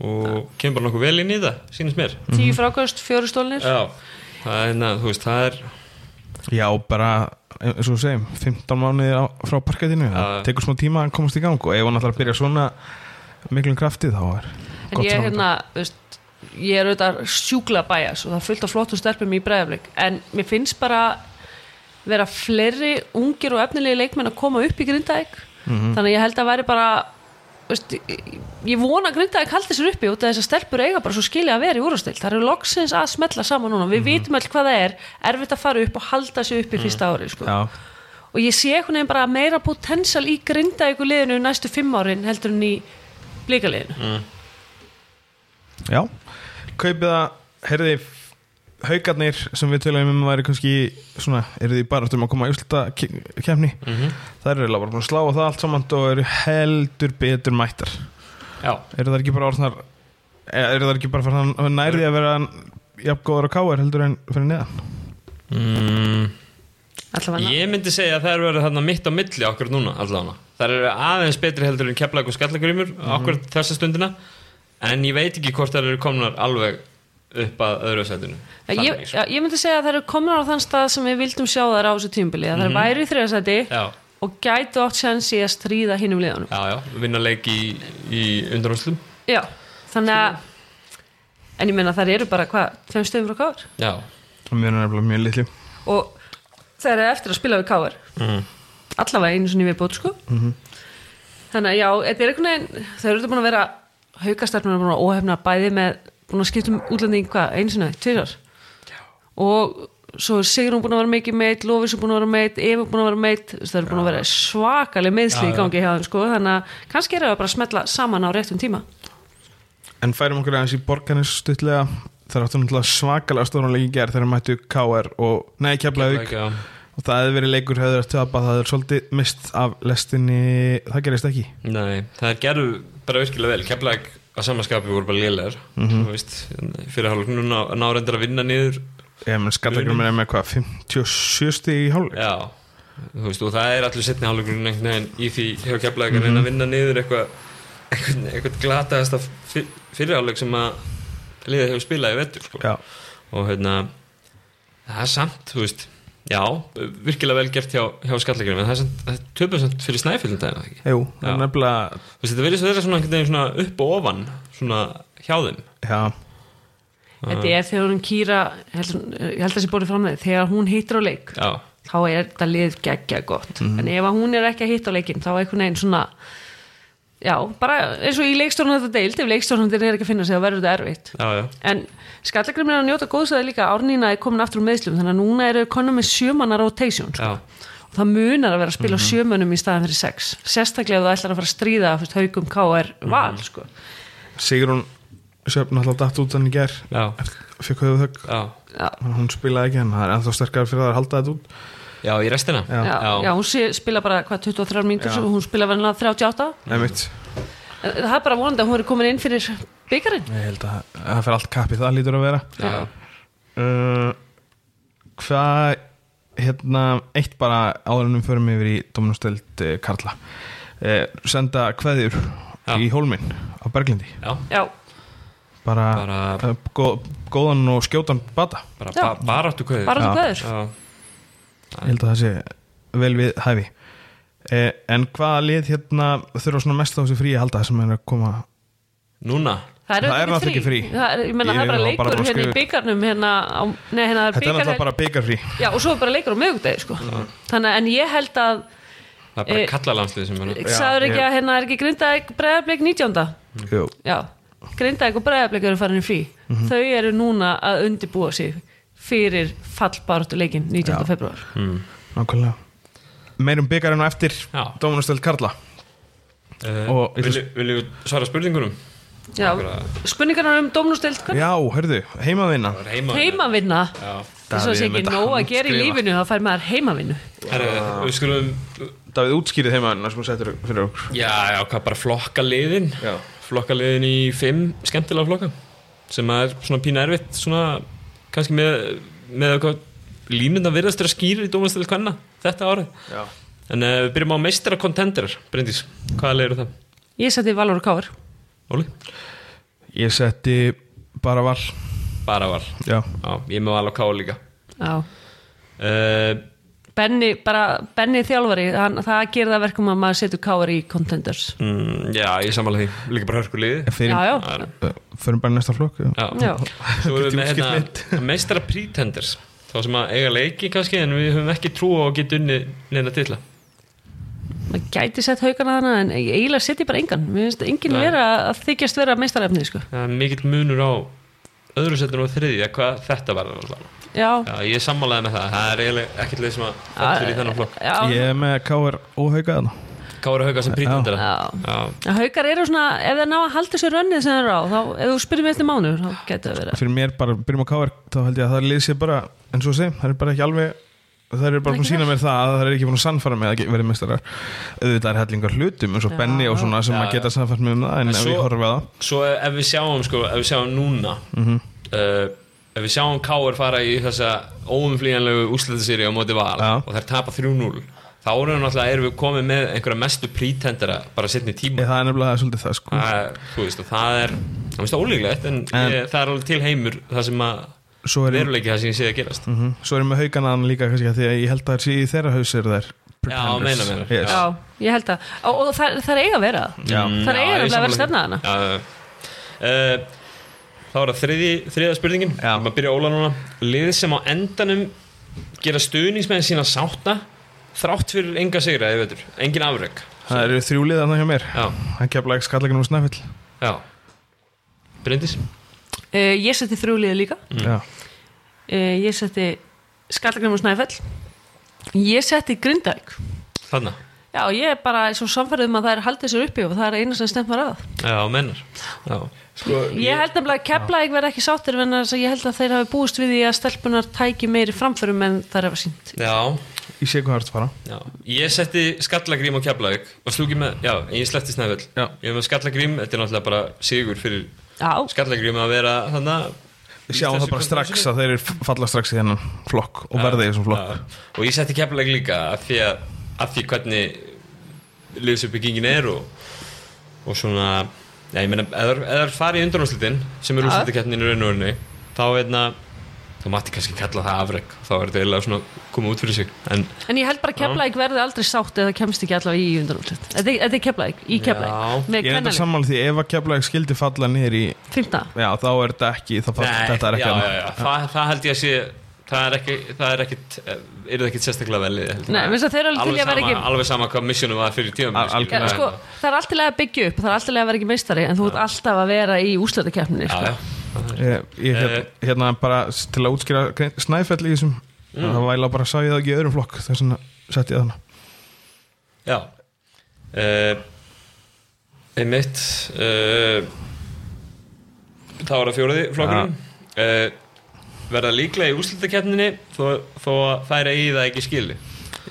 S3: og kemur bara nokkuð vel inn í það sínist mér
S2: tíu frákvöst, fjóru stólnir
S3: Mhm. Já, það er, na, þú veist, það er
S1: Já, bara, eins og við segjum 15 mánuðir á, frá parkettinu það
S3: Já.
S1: tekur smá tíma að komast í gang og ef hann ætlar að byrja svona miklum kraftið þá er
S2: en ég, hérna, þú veist, ég er auðvitað sjúkla bæjas og það er fullt af flottum stelpum í breiðaflik en mér finnst bara vera fleiri ungir og efnilegi leikmenn að koma upp í Grindavík
S3: Mhm.
S2: þannig að ég held að væri bara þú veist, ég- ég vona að Grindavík haldi sér uppi út af þess að stelpur eiga bara svo skilja að vera í úrvarsdeild það eru loksins að smetla saman núna
S3: Mhm.
S2: við vitum all hvað það er, erfitt að fara upp og halda sér uppi fyrsta ári sko.
S1: Já,
S2: og ég sé einhvern veginn bara meira potential í Grindavíku liðinu næstu fimm árin heldur en í blíkaliðinu
S3: Mm.
S1: já Kaupið að, heyrði haugarnir sem við töluðum um væri kannski svona, eru því bara um að koma í úslita kemni, mm
S2: Mhm.
S1: -hmm. það eru bara búin að slá á það allt saman og eru heldur betur mættar
S3: Já,
S1: eru það ekki bara orðnar eru það ekki bara fyrir nærði að vera jafn góður á káir heldur en fyrir neðan
S3: mm,
S2: allavega
S3: ég myndi segja að það eru verið þarna mitt á milli okkur núna allavega Það eru aðeins betri heldur en keflag og skallagrimur okkur þessa stundina en ég veit ekki hvort það eru komnar alveg upp að öðru sætinu
S2: Já, Ég,
S3: sko.
S2: já, ég myndi segja að það eru komin á þann stað sem við vildum sjá þær á þessu tímbili að það mm -hmm. væri í þriðasæti
S3: Mhm. Já,
S2: og gætu átt sens í að stríða hinnum liðanum
S3: já, já, vinna leik í, í undanúslum
S2: Já, þannig að en ég meina þær eru bara hvað, tveim stöðum frá káar
S3: Já,
S1: það mjög nefnilega mjög litlu
S2: og þær eru eftir að spila við káar
S3: Mhm.
S2: allavega einu sinni við bótt sko þannig að já, þetta er einhvern veginn þær eru þetta búin að vera haukastarfnir búin að óhefna bæði með búin að skipta um útlending hvað, einu sinni, tvisar og svo er Sigrun búin að vera mikið meitt Lofis er búin að vera meitt, Eva er búin að vera meitt það er búin að vera svakaleg meðsli í gangi hjá þeim sko, þannig að kannski er það bara að smetla saman á réttum tíma
S1: en færum okkur aðeins í borgarnis stuttlega það áttu náttúrulega svakalega stórnulegi gerð þegar mættu káir og nei keflaðið
S3: já.
S1: og það hefði verið leikur hefur að töpa það er svolítið mist af lestinni það gerist ekki
S3: Nei, það er gerðu bara virkilega vel Keflæk að samanskapi voru bara lélegar mm
S1: Mhm.
S3: -hmm. veist, fyrir hálf núna ná reyndir að vinna niður
S1: ég menn skallakur mér með hvað 57 stig í hálfleik
S3: já, þú veist, og það er allir setni hálfleikurinn einhvern veginn í því hjá Keflæk
S1: Mhm.
S3: að reyna að vinna niður eitthvað eitthvað, eitthvað glataðasta fyrir hálfleik sem að liðið hefur spilað í vettur sko.
S1: já,
S3: og hérna það er samt, þú veist já, virkilega vel gert hjá, hjá skallegjum en það er samt- það er töpum samt fyrir snæfjöldum dagina ekki
S1: jú, það er
S3: Já.
S1: nefnilega
S3: Þú veist, þetta verðist að vera svona einhvern veginn svona upp og ofan svona hjá þeim
S1: já,
S2: þetta er þegar hún kýra ég held ég held að þessi bóri fram með þegar hún hittir á leik
S3: Já,
S2: þá er þetta lið geggja gott en ef að hún er ekki að hitta á leikinn þá er einhvern veginn svona já, bara eins og í leikstórnum þetta deild ef leikstórnum er ekki að finna sig þá verður þetta erfitt
S3: já, já
S2: En skallagrimir er að njóta góðsæði líka Árnína er komin aftur úr meðslum Þannig að núna eru konum með sjömanna rotation sko.
S3: Já,
S2: Og það munar að vera að spila mm sjömönnum í staðan fyrir sex Sérstaklega ef þú ætlar að fara að stríða fyrst, Haukum K.R. Val sko.
S1: Sigrun Sjöfn alltaf datt út hann í ger
S3: já,
S1: fikk höfuð þögg
S3: já
S2: já,
S1: hún spilaði ekki en það er ennþá sterkar fyrir það að halda þetta út
S3: Já, í restina
S1: Já.
S2: já, já, hún sé, spila bara hvað 23 mínútur
S1: Já.
S2: og hún spila verðinlega 38
S1: Einmitt.
S2: En Það er bara vonandi að hún er komin inn fyrir byggarinn
S1: ég held að það fyrir allt kappið það lítur að vera
S3: já.
S1: uh, Hvað hérna, eitt bara áðurinnum förum yfir í Dóminustöld uh, Karla uh, senda kveðjur
S3: Já.
S1: í Hólminn á Berglindi
S3: já,
S2: já,
S1: bara,
S3: Bara-
S1: bara góð, góðan og skjótan bata
S3: bara
S2: Já.
S3: ba baráttu kveður
S2: bara
S1: Já.
S2: þú kveður
S1: ég held að það sé vel við hæfi eh, en hvaða lið hérna þurfa svona mest á þessu fríi að halda sem er að koma
S3: núna
S2: Það er,
S1: Það er
S2: auðvitað
S1: náttúrulega ekki frí.
S2: Það er, ég menna,
S1: Ég
S2: það er bara
S1: var bara búin
S2: leikur
S1: að
S2: hérna í
S1: skrifa-
S2: byggarnum hérna, á, nei, hérna það er
S1: þetta er
S2: byggarhelg
S1: náttúrulega bara byggarfrí
S2: Já, og svo er bara leikur á miðugdegi, sko Þannig, en ég held að,
S3: það er bara
S2: Eh,
S3: kallalandslið sem er
S1: Já,
S2: sagður ekki
S1: ég-
S2: að hérna er ekki grindaðið breðablik 19.
S1: Jú.
S2: Já, grindaðið og breðablik eru farin í frí
S1: Mhm.
S2: Þau eru núna að undibúa sig fyrir fallbartu leikin 19. februar
S1: Mhm. nákvæmlega meirum byggarinn á eftir
S3: Já.
S1: Dóminustöld Karla og-
S3: viljum við svara spurningunum
S2: Já,
S3: Akkurat.
S2: spurningarnar um domnustild
S1: já, hörðu, heimavinna
S3: Það er heima
S2: Heimavinna
S3: Já.
S2: Þess að
S1: Davíð
S2: sé ekki
S1: myndi
S2: nóg að gera í
S1: handskrifa.
S2: lífinu þá fær maður heimavinnu
S3: Herru, við skulum
S1: Davíð útskýrið heimavinna sem þú settur fyrir okkur
S3: já, já, hvað bara flokka liðin
S1: Já.
S3: flokka liðin í fimm skemmtilega flokka sem er svona pína erfitt svona kannski með, með hvað línuna virðast er að skýra í dómastil hvenna þetta árið
S1: já.
S3: en uh, við byrjum á meistara kontenderar Bryndís, hvaða leið eru það?
S2: Ég seti Valur og Káur
S3: Óli?
S1: ég setti bara val
S3: Bara val
S1: já,
S3: Já, ég er með val á ká líka
S2: Já
S3: uh,
S2: Benni, bara, Benni þjálfari hann, það gerir það verkum að maður setur káar í contenders
S3: mm, Já, ég samanlega því Líka bara hörku liði
S1: fyrir,
S2: já, já,
S1: já. fyrir bara í næsta flokk já.
S2: já,
S3: Svo erum við með
S1: Getum
S3: hérna (laughs) meistara pretenders þá sem að eiga leiki kannski en við höfum ekki trú á að geta unni neina titla
S2: maður gæti sett haugana þannig en ég eiginlega setji bara engan mér finnst enginn
S3: Nei.
S2: vera að þykjast vera meistarefni sko.
S3: það er mikill munur á öðru setinu og þriðja hvað þetta verður alltaf
S2: já,
S3: Já, ég er sammálaði með það, það er eiginlega ekkert leið sem að fellur í þennan flokk
S2: já,
S1: ég er með K.R. óhauka þarna
S3: Kára Hauka sem prítendara
S2: Já.
S3: Já.
S2: haugar eru svona ef það ná að halda sér rönnið sem það eru á þá, ef þú spyrir mig eftir mánu þá getur það verið
S1: fyrir mér bara byrjum á K.R. þá held ég að það lýsir bara eins og segjum, það er bara ekki alveg það eru bara búin að sína mér það að það er ekki búin að sannfara mig að verið mestarar auðvitað er hellingar hlutum eins og Benny og svona sem
S3: Já,
S1: að geta sannfært mig um það en ef
S3: svo-
S1: ég horfa á það
S3: Svo ef við sjáum sko, ef við sjáum núna
S1: Mhm.
S3: uh, ef við sjáum Káur fara í þessa óumflýjanlegu úsletasýri á móti val
S1: Já.
S3: og þær tapa 3-0 þá erum við náttúrulega erum við komið með einhverja mestu prítendara bara setni tíma
S1: ég, það er nefnilega svolítið það sko
S3: það, er- þú veist, og það er það veist það ólíklegt en,
S1: En-
S3: ég, það er alveg til heimur það sem að
S1: svo er,
S3: veruleiki það sem ég sé að gerast
S1: mm svo er ég með hauganan líka kannski að því að ég held að það sé í þeirra haus eru þær pretenders.
S3: meina, meina.
S1: yes.
S2: já, ég held að og, og það, það er eiga að vera það.
S1: Já.
S2: það er eiga
S3: Mm. Já, ég
S2: nefnilega að
S3: sammála
S2: vera stefna hana
S3: því. Já, já. Eh, Þá er það þriði, þriða spurningin
S1: Já.
S3: Við maður byrja Óla núna Lið sem á endanum gera stuðningsmenn sína sátta þrátt fyrir enga sigra eða veitur, engin afreg
S1: það eru þrjúlið þannig hjá mér
S3: Já,
S1: hann kemla ekki skalleginum og snæfill
S3: já Bryndis?
S2: uh, ég seti þrjúliði líka
S3: Mm.
S1: já.
S2: uh, ég setti Skallagrim og Snæfell ég setti Grindavík
S3: Þarna?
S2: já, ég er bara svo samfærið um að það er haldið sér uppi og það er eina sem stemma rað
S3: Já, mennar Já,
S1: sko,
S2: ég held nefnilega að Keflavík verði ekki sáttir en ég held að þeir hafi búist við því að stelpunar tæki meiri framförum en það er að sínt
S3: já,
S1: ég sé hvað það er að fara
S3: já. Ég setti Skallagrím á Keflavík Varst þú ekki með, já, ég sleppti Snæfell
S1: Já.
S3: Ég hef með Skallagrím, þetta er náttúrulega bara sigur fyrir
S2: já,
S3: Skallagrím að vera þannig
S1: Við sjáum það bara strax að þeir falla strax í hennan flokk og verða í þessum flokk
S3: Já, og ég setti keflag líka af því að af því hvernig liðsuppbyggingin er og, og svona já, ég meina, eða það er farið í undanúrslitin sem er
S2: Já.
S3: úrslitakeppnin í raun og raunni þá veitna þá mætti kannski kalla það afreg þá er þetta eiginlega svona komið út fyrir sig en
S2: en ég held bara að Keflavík verði aldrei sátt eða kemst ekki allavega í undanúrslit þetta er- þetta er Keflavík, í Keflavík
S3: Já.
S1: Ég
S2: með
S1: er þetta
S2: kvennalið,
S1: sammála því ef að Keflavík skildi falla niður í
S2: fymta
S1: Já, þá er þetta ekki, þá fall, þetta er ekki hérna.
S3: já,
S1: annað.
S3: já, já, Það, það held ég að sé það er ekki, það er ekkit eh, er það ekkit sérstaklega velið held ég.
S2: Nei, mér finnst að þeir eru alveg til í að vera
S3: sama,
S2: ekki-
S3: alveg sama hvað missunum var fyrir tíðum
S1: Al-
S2: Já,
S1: algjörlega.
S2: sko, það er alltaf að byggja upp, það er alltaf að vera ekki meistari en þú ert alltaf að vera í úrslöðakeppninni
S3: já,
S2: sko.
S3: já,
S1: Ég, ég
S3: Eh.
S1: hérna, hérna bara s- til að útskýra grein- Snæfell í þessum
S3: Mm.
S1: Það væla bara sá ég það ekki í öðrum flokk Þess vegna sett ég þannig
S3: Já uh, Einmitt uh, Þá er það fjóraði flokkurinn uh, Verða líklega í úrslitakeppninni þó, þó að færa í það ekki skili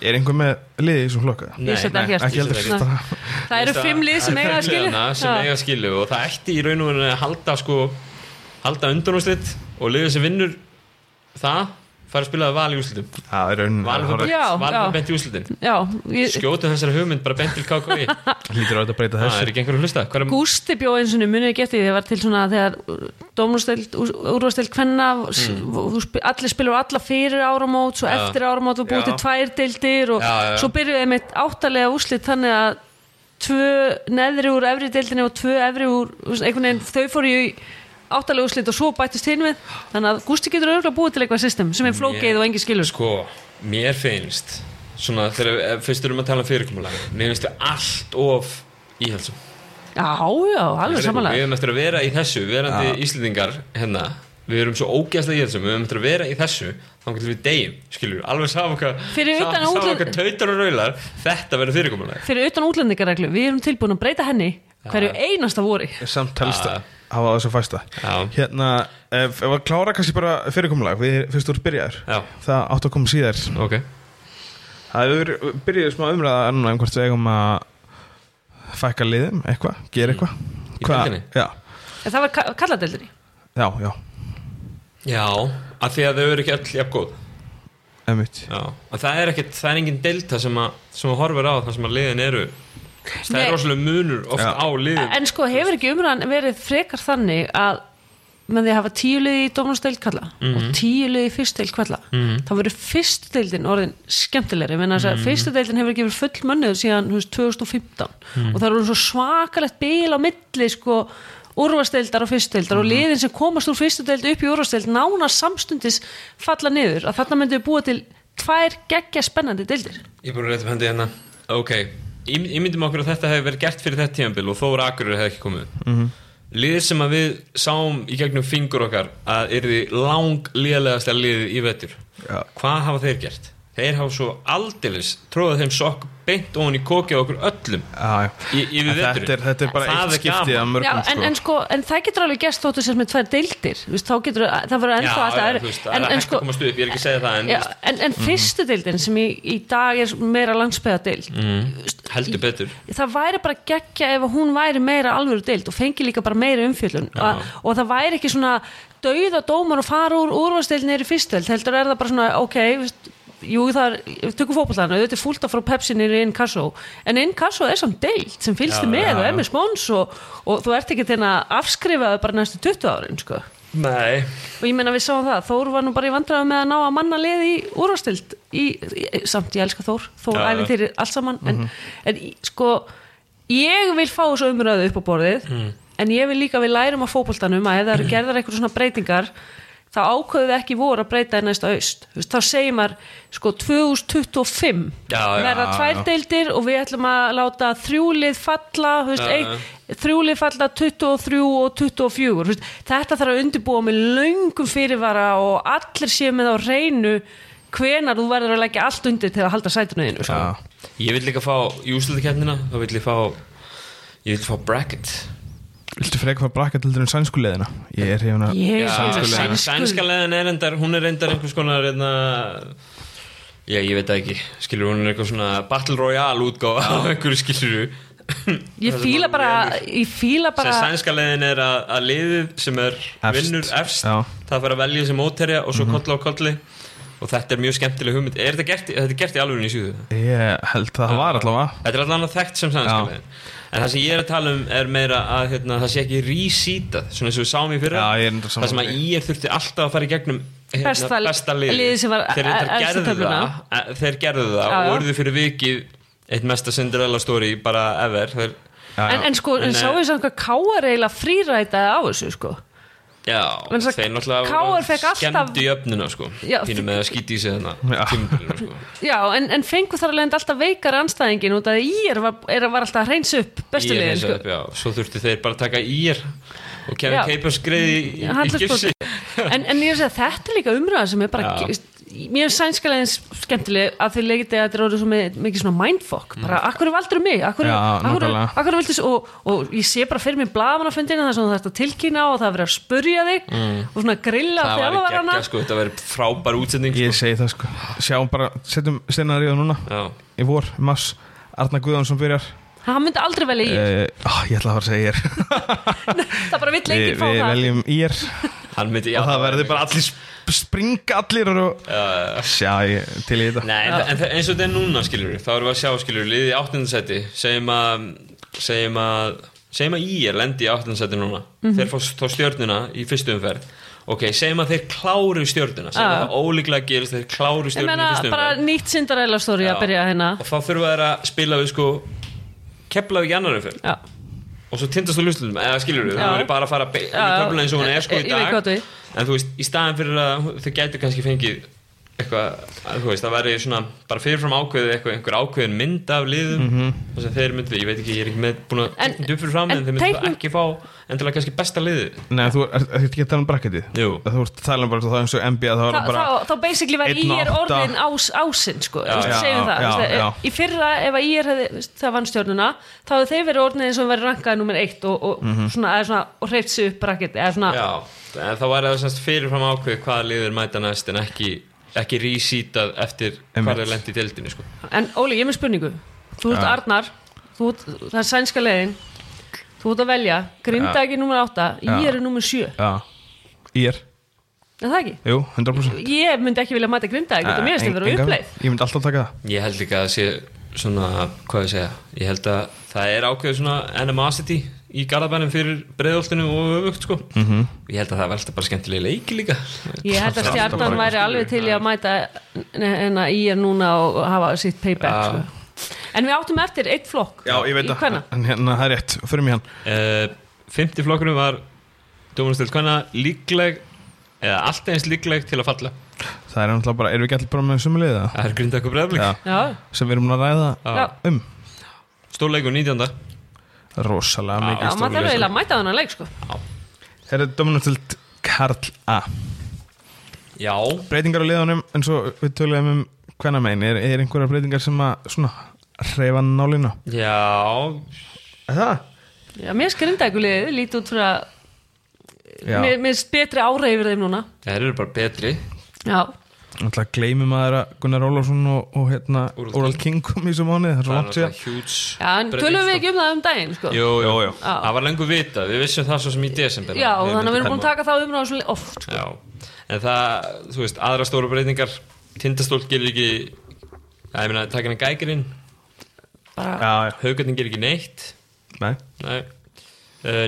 S1: Er einhver með liði í þessum flokk? eða?
S2: Ég set
S3: Nei,
S2: ekki
S1: Ekki
S2: eftir.
S1: heldur
S2: Nei.
S1: bara-
S2: Það eru fimm lið sem
S3: Það eru
S2: eiga að
S3: fimm
S2: skilja
S3: liðanna sem eiga að skilja og það ætti í raun og verið að halda sko halda undanúrslit og liðið sem vinnur það fara að spila við val í úslitum
S1: það er raun
S3: Valur
S1: það
S3: fyrir-
S2: Já,
S3: Valur
S2: já.
S3: fyrir bent í úslitin
S2: já, ég,
S3: skjótu þessari hugmynd bara bent til KKV
S1: hlýtur að þetta breyta
S3: það
S1: þessu
S3: er ekki einhver að hlusta Hvar er,
S2: Gústi bjóð eins og munið getið þegar var til svona þegar dómlustild, úrvastild hvenna mm. allir spilur alla fyrir áramót svo eftir áramót og búið
S1: Já.
S2: til tvær deildir og
S3: Já, já, já.
S2: svo byrjuðu einmitt áttalega úslit þannig að tvö neðri úr efri deildinni og tvö efri úr þú veist, einhvern veginn þau fóru í áttalega úslit og svo bættist hinn við þannig að Gústi getur auðvitað búið til eitthvað system sem er flókið
S3: Mér-
S2: og engi skilur sko.
S3: sko, mér finnst svona þegar við- ef fyrst erum að tala um fyrirkomulega mér finnst það allt of íhalsum
S2: Já, já, alveg
S3: við
S2: samanlega
S3: erum eftir að vera í þessu verandi íslendingar hérna við erum svo ógæslega í þessu við erum eftir að vera í þessu þá getum við deyjum skilur alveg sama hvað
S2: Fyrir
S3: sama-
S2: utan
S3: sama
S2: útlit-
S3: hvað tautar og raular þetta verður fyrirkomulega
S2: Fyrir utan útlendingareglu, við erum tilbúin að breyta henni hverju einasta vori
S1: samt telst
S3: Já.
S1: að hafa þessu fæsta
S3: Já.
S1: hérna, ef, ef að klára kannski bara fyrirkomulag við fyrst úr byrjaður
S3: Já.
S1: það átt að koma síðar
S3: ok
S1: það hefur byrjuð smá umræða núna um hvort við eigum að fækka liðum, eitthvað, gera eitthvað
S3: Í
S1: Hvað-
S3: deildinni?
S1: já,
S2: En það var ka- kalladeildinni
S1: já, já,
S3: já af því að þau eru ekki öll jafn góð
S1: emitt
S3: já og það er ekkert það er engin delta sem að sem að horfir á það sem að liðin eru það
S2: Nei.
S3: er rosalega munur oft
S1: Já.
S3: á liðin
S2: En sko hefur ekki umræðan verið frekar þannig að með því að hafa tíu liði í dómnasteild kalla og tíu liði í fyrst deild kalla þá verður fyrst deildin orðin skemmtilegri menn að mm -hmm. fyrst deildin hefur ekki verið full mönnuð síðan þú veist, 2015 og það eru svo svakalegt bil á milli sko úrvasteildar og fyrstdeildar og liðin sem komast úr fyrstdeild upp í úrvasteild nána samstundis falla niður að þarna myndum við búa til tvær geggja spennandi deildir
S3: Ég er búin að rétta upp hendi hérna Ok, Ím- ímyndum okkur að þetta hefði verið gert fyrir þetta tímabil og Þóra Akurur hefði ekki komið mm -hmm. Liðið sem að við sáum í gegnum fingur okkar að yrði lang liðlegasta liðið í vetur
S1: Já.
S3: Hvað hafa þeir gert? Þeir hafa svo aldeilis tróðað þeim sokk beint ofan í kokið á okkur öllum
S1: Já, já.
S3: Í- yfir
S1: En
S3: veturinn.
S1: þetta er, þetta er bara
S3: Það
S1: eitt
S3: er
S1: skiptið
S3: gaman.
S1: af mörgum
S2: Já, en, en, sko, en það getur alveg gerst þóttu sem með tvær deildir þú veist, þá getur, það verður ennþá alltaf
S3: já,
S2: öðru-
S3: þú veist, það er
S2: en, en,
S3: hægt
S2: sko,
S3: að komast upp, ég er ekki að segja það en
S2: já, en, en
S3: Mhm.
S2: fyrstu deildin sem í, í dag er meira landsbyða deild
S3: heldur betur
S2: það væri bara geggja ef hún væri meira alvöru deild og fengi líka bara meira umfjöllun A, og það væri ekki svona dauða dómar og fara úr úrvarsdeildin er í fyrstu deild heldur er það bara svona, ok veist, jú það er, við tökum fótbollana þetta er fúlt að frá Pepsi niður í Inkasso en Inkasso er samt deild sem fylgst
S3: Já,
S2: þið með
S3: já,
S2: og
S3: já.
S2: er með spons og, og þú ert ekki til að afskrifa það bara næstu 20 árin sko.
S3: Nei,
S2: og ég meina við sáum það, Þór var nú bara í vandræðu með að ná að manna liði í úrvastild í, í, samt ég elska Þór Þór
S3: Já, Mhm. já.
S2: æfið þeirri allt saman en, en í- sko, ég vil fá þessu umræðu upp á borðið
S3: Mm.
S2: en ég vil líka við lærum á fótboltanum að ef það eru
S3: (clears throat)
S2: gerðar eitthvað svona breytingar þá ákveðu við ekki voru að breyta í næsta aust Þú veist, þá segir maður sko 2025
S3: Já, já,
S2: verða
S1: já,
S2: tvær
S1: já.
S2: deildir og við ætlum að láta þrjúlið falla þú veist,
S3: Já,
S2: ein, þrjúlið falla 23 og 24 þú veist, þetta þarf að undirbúa með löngum fyrirvara og allir séu með á reynu hvenar þú verður að leggja allt undir til að halda sætinu þínu sko.
S1: Já,
S3: ég vil líka fá í úslutakefnina þá vil ég fá ég vil fá bracket
S1: viltu frekar fara brakka til þeirra um sænsku leðina? Ég er hérna- hefna
S2: ég
S3: Já,
S2: er
S3: sænsku- Sænska leðin er reyndar, hún er reyndar einhvers konar einna, já, ég veit það ekki skilur hún er eitthvað svona Battle Royale útgáð á einhverju skilur
S2: ég fíla bara, ég fíla
S3: sem
S2: bara
S3: sænska leðin er að, að liðið sem er
S1: Efst.
S3: vinnur efst
S1: Já. Mhm.
S3: það fara að velja sem óterja og svo koll á kolli og þetta er mjög skemmtileg hugmynd er þetta gert, í- þetta er gert í alveg í sjúðu
S1: Ég held að það var allavega
S3: Þetta er allavega þekkt sem sænska
S1: Já.
S3: leðin en það sem ég er að tala um er meira að hérna, það sé ekki resýtað svona eins og við sáum í fyrra
S1: Já, ég er reyndar
S3: það sem að
S1: sammála.
S3: ég þurfti alltaf að fara í gegnum hérna,
S2: Besta-
S3: besta liði
S2: liðið sem var
S3: þeir,
S2: e-
S3: reyndar
S2: efst í
S3: gerðu það,
S2: töfluna.
S3: e- þeir gerðu
S2: Já,
S3: það
S2: já.
S3: og voruðu fyrir vikið eitt mesta Cinderella story bara ever þeir,
S1: Já,
S2: en, en sko, en
S3: En,
S2: sáu
S3: eh,
S2: við samt hvað Káar eiginlega frýrætaði á þessu sko
S3: já,
S2: Men svo
S3: þeir náttúrulega
S2: KR
S3: voru
S2: fekk alltaf-
S3: skemmdu jöfnuna sko,
S2: Já,
S3: pínu með að skýti í sig
S1: Já.
S3: þarna tímabilinu, sko.
S2: já, en, en fengu þar alveg alltaf veikar anstæðingin út af því ég var, er, var alltaf að reynsa upp (laughs) bestu
S3: Ír
S2: liðin
S3: E hins
S2: sko.
S3: upp, já, svo þurfti þeir bara að taka ír og
S2: Já.
S3: Kevin Capers greiði í, í gifsi
S2: Handleggsbrot. en, en ég er að segja þetta er líka umræða sem er bara
S3: Já.
S2: mér er sænskalegins skemmtileg að þau legið þetta er orðið svo með, mikið svona mindfuck
S3: Mm.
S2: bara, akkur er valdur mig akkur,
S1: Já,
S2: akkur,
S1: nákvæmlega.
S2: akkur viltu, s- og, og ég sé bara fyrir mér blaðamannafundin það er svona þetta tilkynna og það er verið að spurja þig og svona grilla
S3: Mm. það var ekki
S2: þjálfarana
S3: ekki sko, þetta verið frábær útsending
S1: Ég
S3: sko.
S1: segi það sko Sjáum bara, setjum steinar í það núna
S3: já,
S1: Í vor, í mars, Arna Guðjónsson byrjar Eh, ah,
S2: hann myndi aldrei
S3: Eh,
S2: velja í
S1: uh, Ég ætla að fara að segja ég
S2: það bara vill
S1: Við
S2: enginn fá
S1: við
S2: það
S1: veljum ég
S3: Hann myndi, já
S1: og (laughs) það verður bara allir sp- springa allir og sjá ég til í þetta
S3: Nei, en, en þe- eins og þetta er núna skilur við, þá erum við að sjá skilur við liðið í áttundarsæti segjum að segjum að, segjum að ég lendi í áttundarsæti núna
S2: Mhm.
S3: þeir fá s- þá stjörnuna í fyrstu umferð ok, segjum að þeir kláru stjörnuna segjum
S2: Já.
S3: að það ólíklega gerist þeir kláru
S2: Ah. Ég
S3: stjörnuna
S2: meina
S3: í fyrstu
S2: bara
S3: umferð
S2: nýtt Cinderella story
S3: Já.
S2: að byrja hérna
S3: og þá þurfa þeir að spila við sko kepla við í annar umferð
S2: Já,
S3: og svo tindast á lustlunum, eða skilur við
S2: Já.
S3: það verður bara að fara be-
S2: Já,
S3: í
S2: já.
S3: töfluna eins og hún er sko
S2: Ég-
S3: í
S2: ég veit
S3: dag
S2: hvað þú við.
S3: en þú veist, í staðan fyrir að þau gætu kannski fengið eitthvað, að, þú veist, það væri svona bara fyrirfram ákveðið eitthvað, einhver ákveðin mynd af liðum, mm þess að þeir myndu ég veit ekki, ég er ekki með búin að
S2: En-
S3: duð fyrir fram en,
S2: en
S3: þeir myndu
S2: teiknum-
S3: ekki fá endilega kannski besta liðið
S1: Nei, þú ert er, ekki að tala um bracketið
S3: Jú.
S1: Þú ert að tala um bara það eins og NBA Það
S2: þá,
S1: var bara
S2: þá, þá basically var
S1: einn og
S2: IR
S1: átta.
S2: orðin ás, ásinn sko,
S3: Já,
S2: já,
S1: já,
S2: segjum það
S1: já,
S2: já,
S1: já.
S2: í fyrra ef að IR hefði, þú veist, það vann stjórnuna þá hefði þeir verið orðin eins og verið rankaði nummer eitt og, og,
S1: Mhm.
S2: svona, eða svona, og hreift sig upp bracket eða svona,
S3: já, en þá væri það semst fyrirfram ákveðið hvaða liður mæta næst en ekki, ekki rísítað eftir
S1: Einmitt.
S3: hvað þeir lendi í deildinni sko.
S2: en Óli, ég er með spurningu þú ert
S1: Já.
S2: Arnar, þú ert, það er sænska leiðin þú ert að velja, grinda ekki nummer 8 IR er nummer 7,
S1: Já, ég er,
S2: er það ekki?
S1: jú, 100%
S2: ég myndi ekki vilja mæta grinda ekki, þetta mér finnst þetta
S1: Eng-
S2: verið
S1: engan-
S2: uppleið
S1: Ég myndi alltaf taka það
S3: Ég held líka að það sé svona, hvað ég segja ég held að það er ákveðu svona animosity í garðabænum fyrir breiðoltinu og öfugt sko -hmm. ég held að það velta bara skemmtilega leiki líka
S2: Ég held að
S1: Alltaf
S2: stjarnan
S1: bara
S2: væri
S1: eitthvað
S2: alveg til í að mæta en að ég er núna og hafa sitt payback
S3: Já.
S2: sko. En við áttum eftir eitt flokk
S1: Já, ég veit
S2: í hvenna
S1: En hérna, það er rétt, fyrir mig hann
S3: uh, Fymti flokkurum var Dómarastöld hvenna líkleg eða allt eins líkleg til að falla
S1: Það er náttúrulega bara, erum við ekki allir bara með sömu liða
S3: Það er grindað eitthvað breiðablik
S1: Já.
S2: Já,
S1: sem við erum búin að ræða
S2: já,
S1: um
S3: Stórleikur 19.
S1: Rosalega
S2: já
S1: mikið
S2: maður þarf
S1: stórlega
S2: eiginlega að mæta þannig leik sko
S1: Þeir eru dominantild Karl A
S3: Já,
S1: Breytingar á liðanum eins og við töluðum um hvenna megin er, er einhverjar breytingar sem að svona hreyfa nálinu
S3: já
S1: Er það?
S2: Já, mér skrinda ykkur liðið, lítið út fyrir að
S1: Já,
S2: mér, mér er betri ára yfir þeim núna
S3: Það eru bara betri
S2: Já,
S1: náttúrulega gleymum maður að Gunnar Ólafsson og, og hérna
S3: Úrval
S1: Oral King kom í þessu mánuði það er
S3: Það
S1: svo
S3: er
S1: langt síðan
S3: náttúrulega hjúts
S2: já en tölum við ekki um það um daginn sko
S3: Jú, jú,
S1: Jó,
S3: jú
S1: jó.
S3: Það var lengur vita, við vissum það svo sem í desember
S2: Já, og þannig að við erum
S3: myndum
S2: búin að taka þá umræðum svo oft sko.
S3: Já, en það, þú veist, aðra stóra breytingar Tindastóll gerir ekki Já, ég meina, taka hann gækirinn
S2: Bara,
S1: Já, já,
S3: Haukarnir gerir ekki neitt
S1: nei
S3: Nei uh,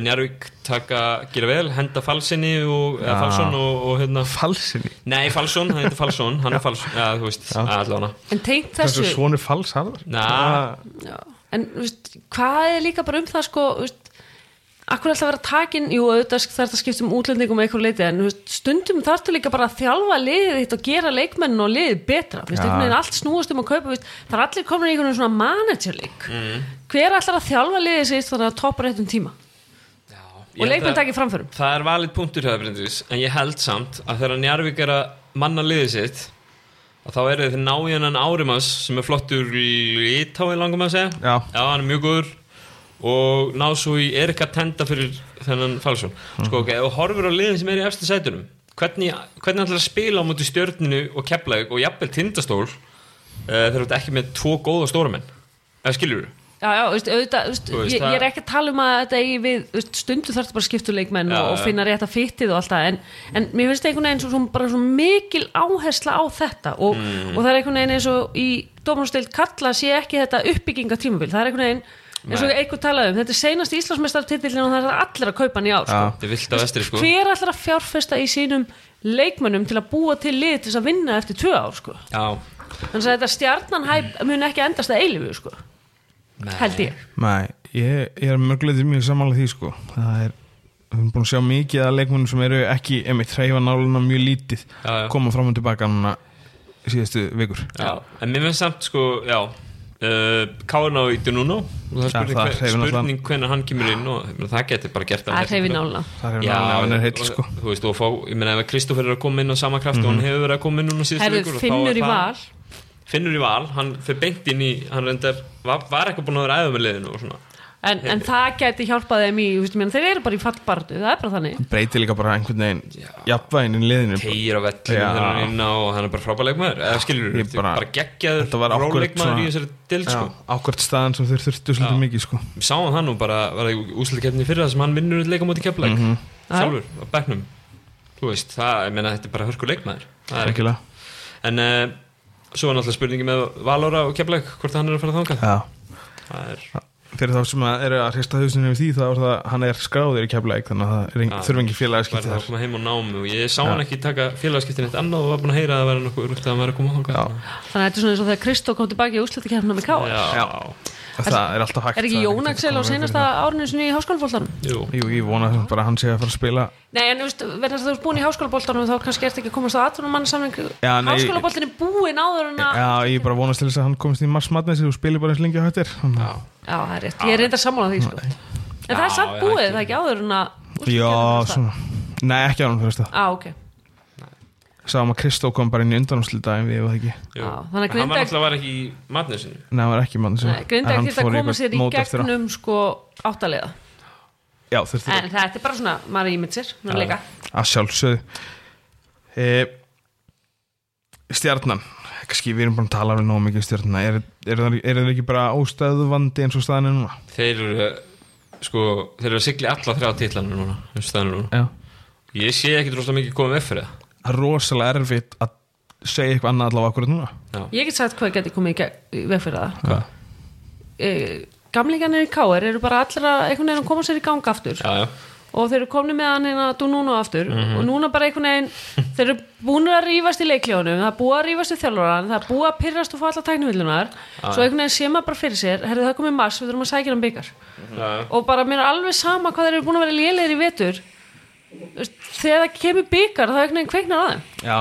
S3: Njarvík taka, gera vel, henda Falsinni og, eða
S1: Já.
S3: Falsson og, og hérna
S1: Falsinni
S3: Nei, Falsson, hann heitir Falsson Hann er Falsson, já, þú veist, að allavega
S2: sko. En tengt
S1: Þessu
S2: þessu
S1: svonur fals harðar Ah.
S3: Na.
S2: Já. En þú veist, hvað er líka bara um það sko, þú veist, akkur er alltaf að vera takin jú, auðvitað þarf það að skipta um útlendingum með eitthvað leiti, en þú veist, stundum þarf til líka bara að þjálfa liðið þitt og gera leikmennin og liðið betra, þú veist,
S1: Já.
S2: einhvern veginn allt snúast um að kaupa, þú veist, það er allir komin í einhvern veginn svona managerleik mm. hver ætlar að þjálfa liðið sig þannig að toppa réttum tíma og leikmenn takir framförum
S3: Það er valið punktur hjá Bryndis En ég held samt að þegar Njarvík er að manna liðið sitt að þá eru þeir ná í hennan Árimas sem er flottur í Ítái langum að segja
S1: Já.
S3: hann er mjög góður og ná svo í Erika Tenda fyrir þennan Falsson sko ok, ef þú horfur á liðin sem er í efstu sætunum hvernig, hvernig ætlar að spila á móti stjörninu og keflaug og jafnvel tindastól uh, þegar þú ert ekki með tvo góða stóramenn eða skilur þú?
S2: Já, já, þú veist, auðvitað, þú veist,
S3: Þú veist,
S2: ég, ég er
S3: það-
S2: ekki að tala um að þetta eigi við, þú veist, stundu þarf bara að skipta um leikmenn
S3: Já,
S2: og, og
S3: já.
S2: finna rétt að fyttið og allt það, en, en mér finnst einhvern veginn svo, svo, bara svo mikil áhersla á þetta og,
S3: Mm.
S2: og það er einhvern veginn eins og í dómarustild kalla sé ekki þetta uppbyggingatímabil, það er einhvern veginn eins og
S3: Nei.
S2: einhver talaði um, þetta er seinast Íslandsmeistartitillin og það er allir að kaupa hann í ár, sko.
S3: Þetta er vilt að vestri sko
S2: Hver ætlar að fjárfesta í sínum leikmönnum til að búa til lið til þess að vinna eftir tvö ár, sko?
S3: Já,
S2: Þannig að þetta stjarnanhæp mun ekki endast að eilifu, sko,
S3: Nei.
S2: held ég.
S1: Nei, ég, ég er mörgulegðið mjög samanlega því sko Það er, við erum búin að sjá mikið að leikmennum sem eru ekki, emitt, hreyfa náluna mjög lítið
S3: Já, já.
S1: koma fram og tilbaka núna síðustu vikur
S3: Já, en mér finnst samt sko, já Uh, Káin á ítu núna og það er
S1: Já,
S3: spurning,
S1: það er
S3: hver-
S1: hreyfin allan.
S3: spurning hvernig hann kemur inn og ég meina, það getur bara gert hann
S2: Það er
S3: hérna.
S2: hreyfin áluna.
S1: Það er
S3: Já,
S1: náttúrulega hann er heill
S3: og-
S1: sko Mhm.
S3: Þú veist, og fá, ég meina ef Kristoffer er að koma inn á sama kraft og hann hefur verið að koma inn núna síðustu
S2: Herðu,
S3: vikur og þá er
S2: Finnur í
S3: það-
S2: val
S3: Finnur í val, hann fyrir beint inn í hann reyndar, var, var eitthvað búin að vera æða með liðinu og svona
S2: en, en það gæti hjálpað þeim í þú veist, ég meina, þeir eru bara í fallbartu, það er bara þannig
S1: Breytir líka bara einhvern veginn jafnvæginn í liðinu
S3: tegir á vellinu
S1: Já.
S3: þegar hann er inn á og hann er bara frábæð leikmaður eða skilur
S1: Ég
S3: við, bara,
S1: bara-
S3: bara geggjaður
S1: Þetta var akkúrat
S3: róleikmaður í
S1: svona-
S3: þessari dild sko.
S1: Ákvært staðan sem þeir þurftu svolítið mikið sko
S3: Við sáum Mhm. það nú bara var það í úslutakefni fyrir það sem hann vinnur leika mútið keflæk sjálfur á bekknum þú veist, það, ég meina, þetta er bara hörku leikmaður það er ekki
S1: Rækilega
S3: en uh, svo er náttúrulega spurningi með Valóra og Keflæk hvort hann er að fara þangað
S1: Já
S3: það er,
S1: Fyrir þá sem að eru að hrista hausinu við því þá er það hann er skráður í keflæk þannig að það er engin,
S3: Já.
S1: þurfa engin
S3: var
S1: félagaskipti
S3: það að
S1: þar
S3: koma heim og námi og ég sá hann ekki taka félagskiptin eitt annað og var búin að heyra að það vera nokkuð rúgt að hann væri að koma þangað
S1: Já.
S2: Þannig að þetta er svona eins og þegar Kristó kom tilbaki í úslutakefna með K.R.
S3: já,
S1: Það er alltaf hægt
S2: Er ekki
S1: það hægt
S2: Jón
S1: að koma
S2: Axel á
S1: veg fyrir
S2: seinasta árinu sinni í háskólaboltanum?
S3: jú,
S1: það. Jú, ég vona sem bara að hann sé að fara að spila
S2: Nei, en þú veist, verðast að þú ert búin í háskólaboltanum þá kannski ert ekki að komast á atvinnumannsamling
S1: Já, nei.
S2: Háskólaboltin er búin áður en að Já,
S1: Já, ég bara vonast til þess að hann komist í marsmatni og spili bara eins lengi á hættir
S3: já,
S2: það er rétt, ég er reyndar sammála því sko. En það er
S3: Já,
S2: samt
S3: já,
S2: búið,
S3: ekki.
S2: það er ekki áður en að
S1: Já, svona
S2: úrslitakeppnin fer af stað.
S1: Nei, ekki á hann fyrir þetta
S2: Á, ok
S1: Sáum um að Kristó kom bara inn í undanúslita en við og það ekki
S3: jú.
S2: Já,
S3: hann
S2: þannig
S3: var
S2: að Grindavík-
S3: náttúrulega var ekki í matnið sinu
S1: Nei, það var ekki mann sem
S2: Grindag þurft að koma sér í
S1: að
S2: gegnum sko áttalega
S1: Já, þurfti
S2: En þetta er bara svona, maður ímynd sér maður leika.
S1: að sjálfsögðu e, stjarnan kannski við erum bara að tala alveg nógu mikið um stjarnan er, er, það- er það ekki bara óstæðuvandi eins og staðan er núna
S3: þeir eru sko, þeir eru að sigla í alla þrjá titlanir núna, um staðinu núna
S1: Já.
S3: ég sé ekkit rosalega mikið komið með fyrir það
S1: það er rosalega erfitt að segja eitthvað annað allavega akkurat núna
S2: Ég get sagt hvað geti komið í gegn- í veg fyrir það e, Gamlingarnir í K.R. eru bara allra einhvern veginn að koma sér í gang aftur
S3: já, já,
S2: og þeir eru komni með hann hérna dú núna aftur og núna bara einhvern veginn þeir eru búin að rífast í leikljónum það er búið að rífast í þjálfóran, það er búið að pyrrast og fá alla tæknivillunar, svo einhvern veginn sé maður bara fyrir sér, herrðu það komið mars, við þurfum að sækja hann byggar
S3: já, já.
S2: og bara mér er alveg sama hvað þeir eru búin að vera lélegir í vetur Þú veist, þegar það kemur byggar það er einhvern veginn kveiknar að þeim
S1: Já,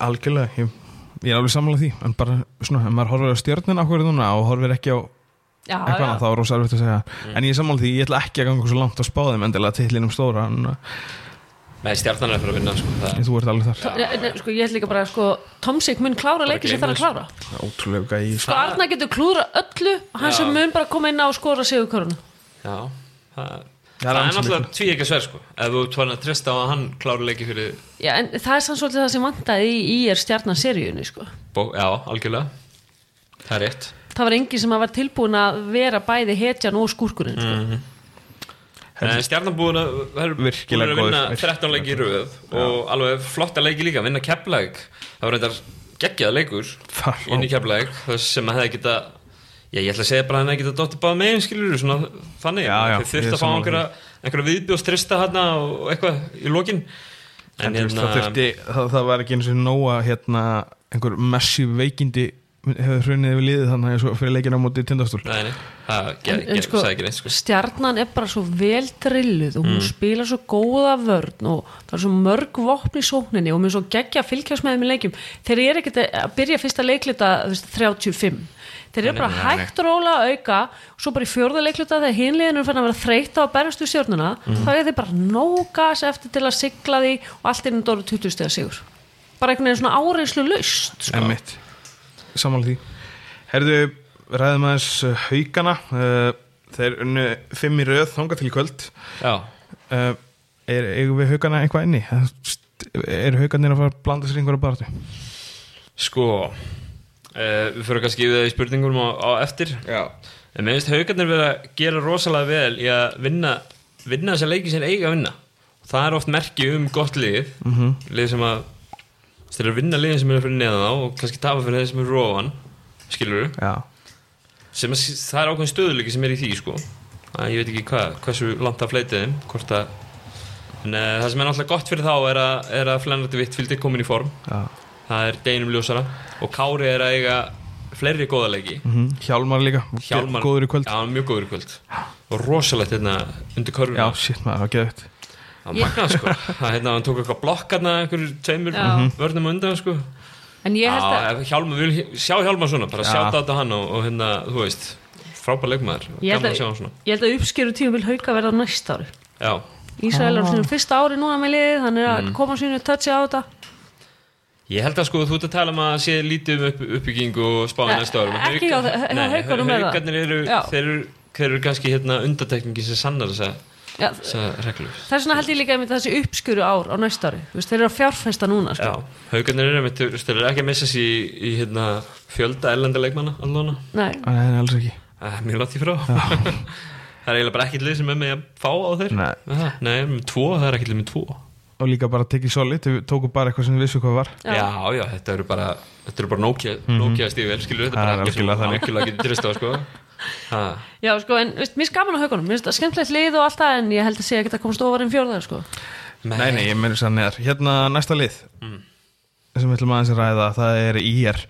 S1: algjörlega ég, ég er alveg samlega því en bara svona, ef maður horfir á stjarnan akkurat núna og horfir ekki á
S2: já,
S1: eitthvað
S2: já.
S1: annað, þá er rosa erfitt að segja en ég er samlega því, ég ætla ekki að ganga svo langt að spáðum endilega titlinum stóra en
S3: Nei, stjarnan er fyrir að vinna sko, það,
S1: þú ert alveg þar
S2: Nei, nei, sko, ég held líka bara sko, Tomsik mun klára leikið sem það er að
S3: gleyma
S2: klára
S1: Ótrúlega í
S2: sko, Arna getur klúra öllu og hann
S3: Já.
S2: sem mun bara koma inn á og skora sigurkörun
S3: já, það,
S1: Það er
S3: það er
S1: ansi
S3: náttúrulega tví ekki að sver sko. ef þú tóðan að treysta á að hann klára leiki fyrir
S2: Já, en það er sann svolítið það sem vantaði í, í er stjarnaseríunni, sko.
S3: bó, já, algjörlega það er rétt
S2: Það var engin sem að var tilbúin að vera bæði hetjan og skúrkurinn, sko.
S3: En stjarnan búin að, það eru búin
S1: Virkilega
S3: að vinna
S1: góður,
S3: 13 leiki í röð og alveg flotta leiki líka, vinna keflæk það var reyndar geggjaða leikur
S1: Það var-
S3: inn í keflæk, þess sem að hefði geta já, ég ætla að segja bara að hann hefði geta dóttir báð megin skilur, svona þannig
S1: Já, já,
S3: þeir þurft
S1: ég er
S3: að fá
S1: sammála
S3: einhverja, einhverja viðbjóðstrista hérna og og eitthvað í lokin
S1: En, en hérna, það, þurfti, það, það var ekki eins og nóa hérna, einhver massíf veikindi hefur hrunnið yfir liðið þannig að svo fyrir leikina á móti tindastól
S3: nei, nei, það ger-
S2: en
S3: ger-
S2: sko-
S3: sagði ekki neitt sko. Mm.
S2: Stjarnan er bara svo vel drilluð og hún spilar svo góða vörn og það er svo mörg vopn í sókninni og mér er svo geggja að fylgjast með þeim í leikjum. Þeir eru ekkert að byrja fyrsta leikluta þú veist, 35. Þeir eru bara hægt róla að auka og svo bara í fjórða leikluta þegar hinliðinu er fann að vera þreytta og berjast úr stjórnuna,
S3: Mhm.
S2: þá er þeir bara nógas eftir til að sigla því og allt innan dóru 20 stegar sigur. Bara einhvern veginn svona áreyslu laust. sko.
S1: en mitt samanlega því Herðu, ræðum aðeins uh, haugana uh, þeir unnu fimm í röð þanga til í kvöld
S3: já,
S1: uh, er, eigum við haugana eitthvað inni? Það st- eru haugarnir að fara að blanda sér í einhverja barðu?
S3: sko eh, við fyrir kannski yfir það í spurningum á, á eftir
S1: Já
S3: En mér finnst haugarnir verið að gera rosalega vel í að vinna, vinna þessa leiki sem þeir eiga að vinna. Það er oft merki um gott lið,
S2: Mhm.
S3: lið sem að þeir eru að vinna liðin sem eru fyrir neðan á og kannski tafa fyrir þeir sem eru róan, skilur við.
S1: Já,
S3: Sem að, það er ákveðin stöðuleiki sem er í því, sko. Það, ég veit ekki hvað, hversu langt það fleitið þeim, hvort að... En uh, það sem er náttúrulega gott fyrir þá er að, er að Flennardi Vittfildi er komin í form.
S1: já
S3: Það er deginum ljósara og Kári er að eiga fleiri góða leiki.
S1: Mhm. Hjálmar líka,
S3: Hjálmar,
S1: góður í kvöld
S3: já, hann er mjög góður í kvöld og rosalegt hérna undir
S1: Já,
S3: körfuna
S1: shit maður, það geðvægt
S3: það magnað
S1: (laughs)
S3: sko, það hérna hann tók eitthvað blokk hérna einhverjum tveimur
S2: Já.
S1: Mhm.
S3: vörnum á undan sko
S2: En ég
S3: já,
S2: held að...
S3: ef Hjálmar, vil, sjá Hjálmar svona bara
S1: Já.
S3: sjá þetta hann og, og hérna, þú veist frábær leikmaður,
S2: Ég held
S3: gaman að sjá hann
S2: að,
S3: svona
S2: ég held að uppskeru tíum vil hauka verða næst ári
S3: já,
S2: Ísrael er á sínu fyrsta ári núna með liðið hann er að koma sínu touchi á þetta
S3: ég held að sko þú ert að tala um að sé lítið um upp, uppbyggingu og spáði
S2: Eh,
S3: næsta árum
S2: ekki hjá þe- hjá Haukunum með það.
S3: haugarnir eru,
S2: Já.
S3: þeir eru þeir eru kannski hérna undatekningi sem sannar þessa,
S2: ja,
S3: þessa reglur
S2: þess vegna held ég líka einmitt þessi uppskeru ár á næst ári Þú veist, þeir eru að fjárfesta núna sko.
S3: Já, haugarnir eru mitt, þeir eru ekki að missa sér í, í hérna, fjölda erlenda leikmanna allavega,
S2: Nei,
S1: Nei, það er alls ekki
S3: uh, mjög látt í frá (laughs) Það er eiginlega bara ekkert lið sem er með að fá á þeir
S1: Nei.
S3: Aha, Nei, með tvo, það er ekkert lið með tvo
S1: og líka bara tekið solid við tókum bara eitthvað sem við vissum hvað var
S2: Já.
S3: Já, já, þetta eru bara þetta eru bara Nokia, Nokia stífið skilur, þetta
S1: Mhm. Það er
S3: er bara ekki
S1: algjörlega
S3: svona
S1: þannig.
S3: algjörlega getur trist á sko ha,
S2: Já, sko, en veist, mér er skaman á haugunum, mér finnst það skemmtilegt lið og allt það en ég held að sé að geta komast ofar en fjórðar, sko.
S1: Nei, nei, ég meina þess að neðar Hérna næsta lið sem við ætlum aðeins að ræða, það er IR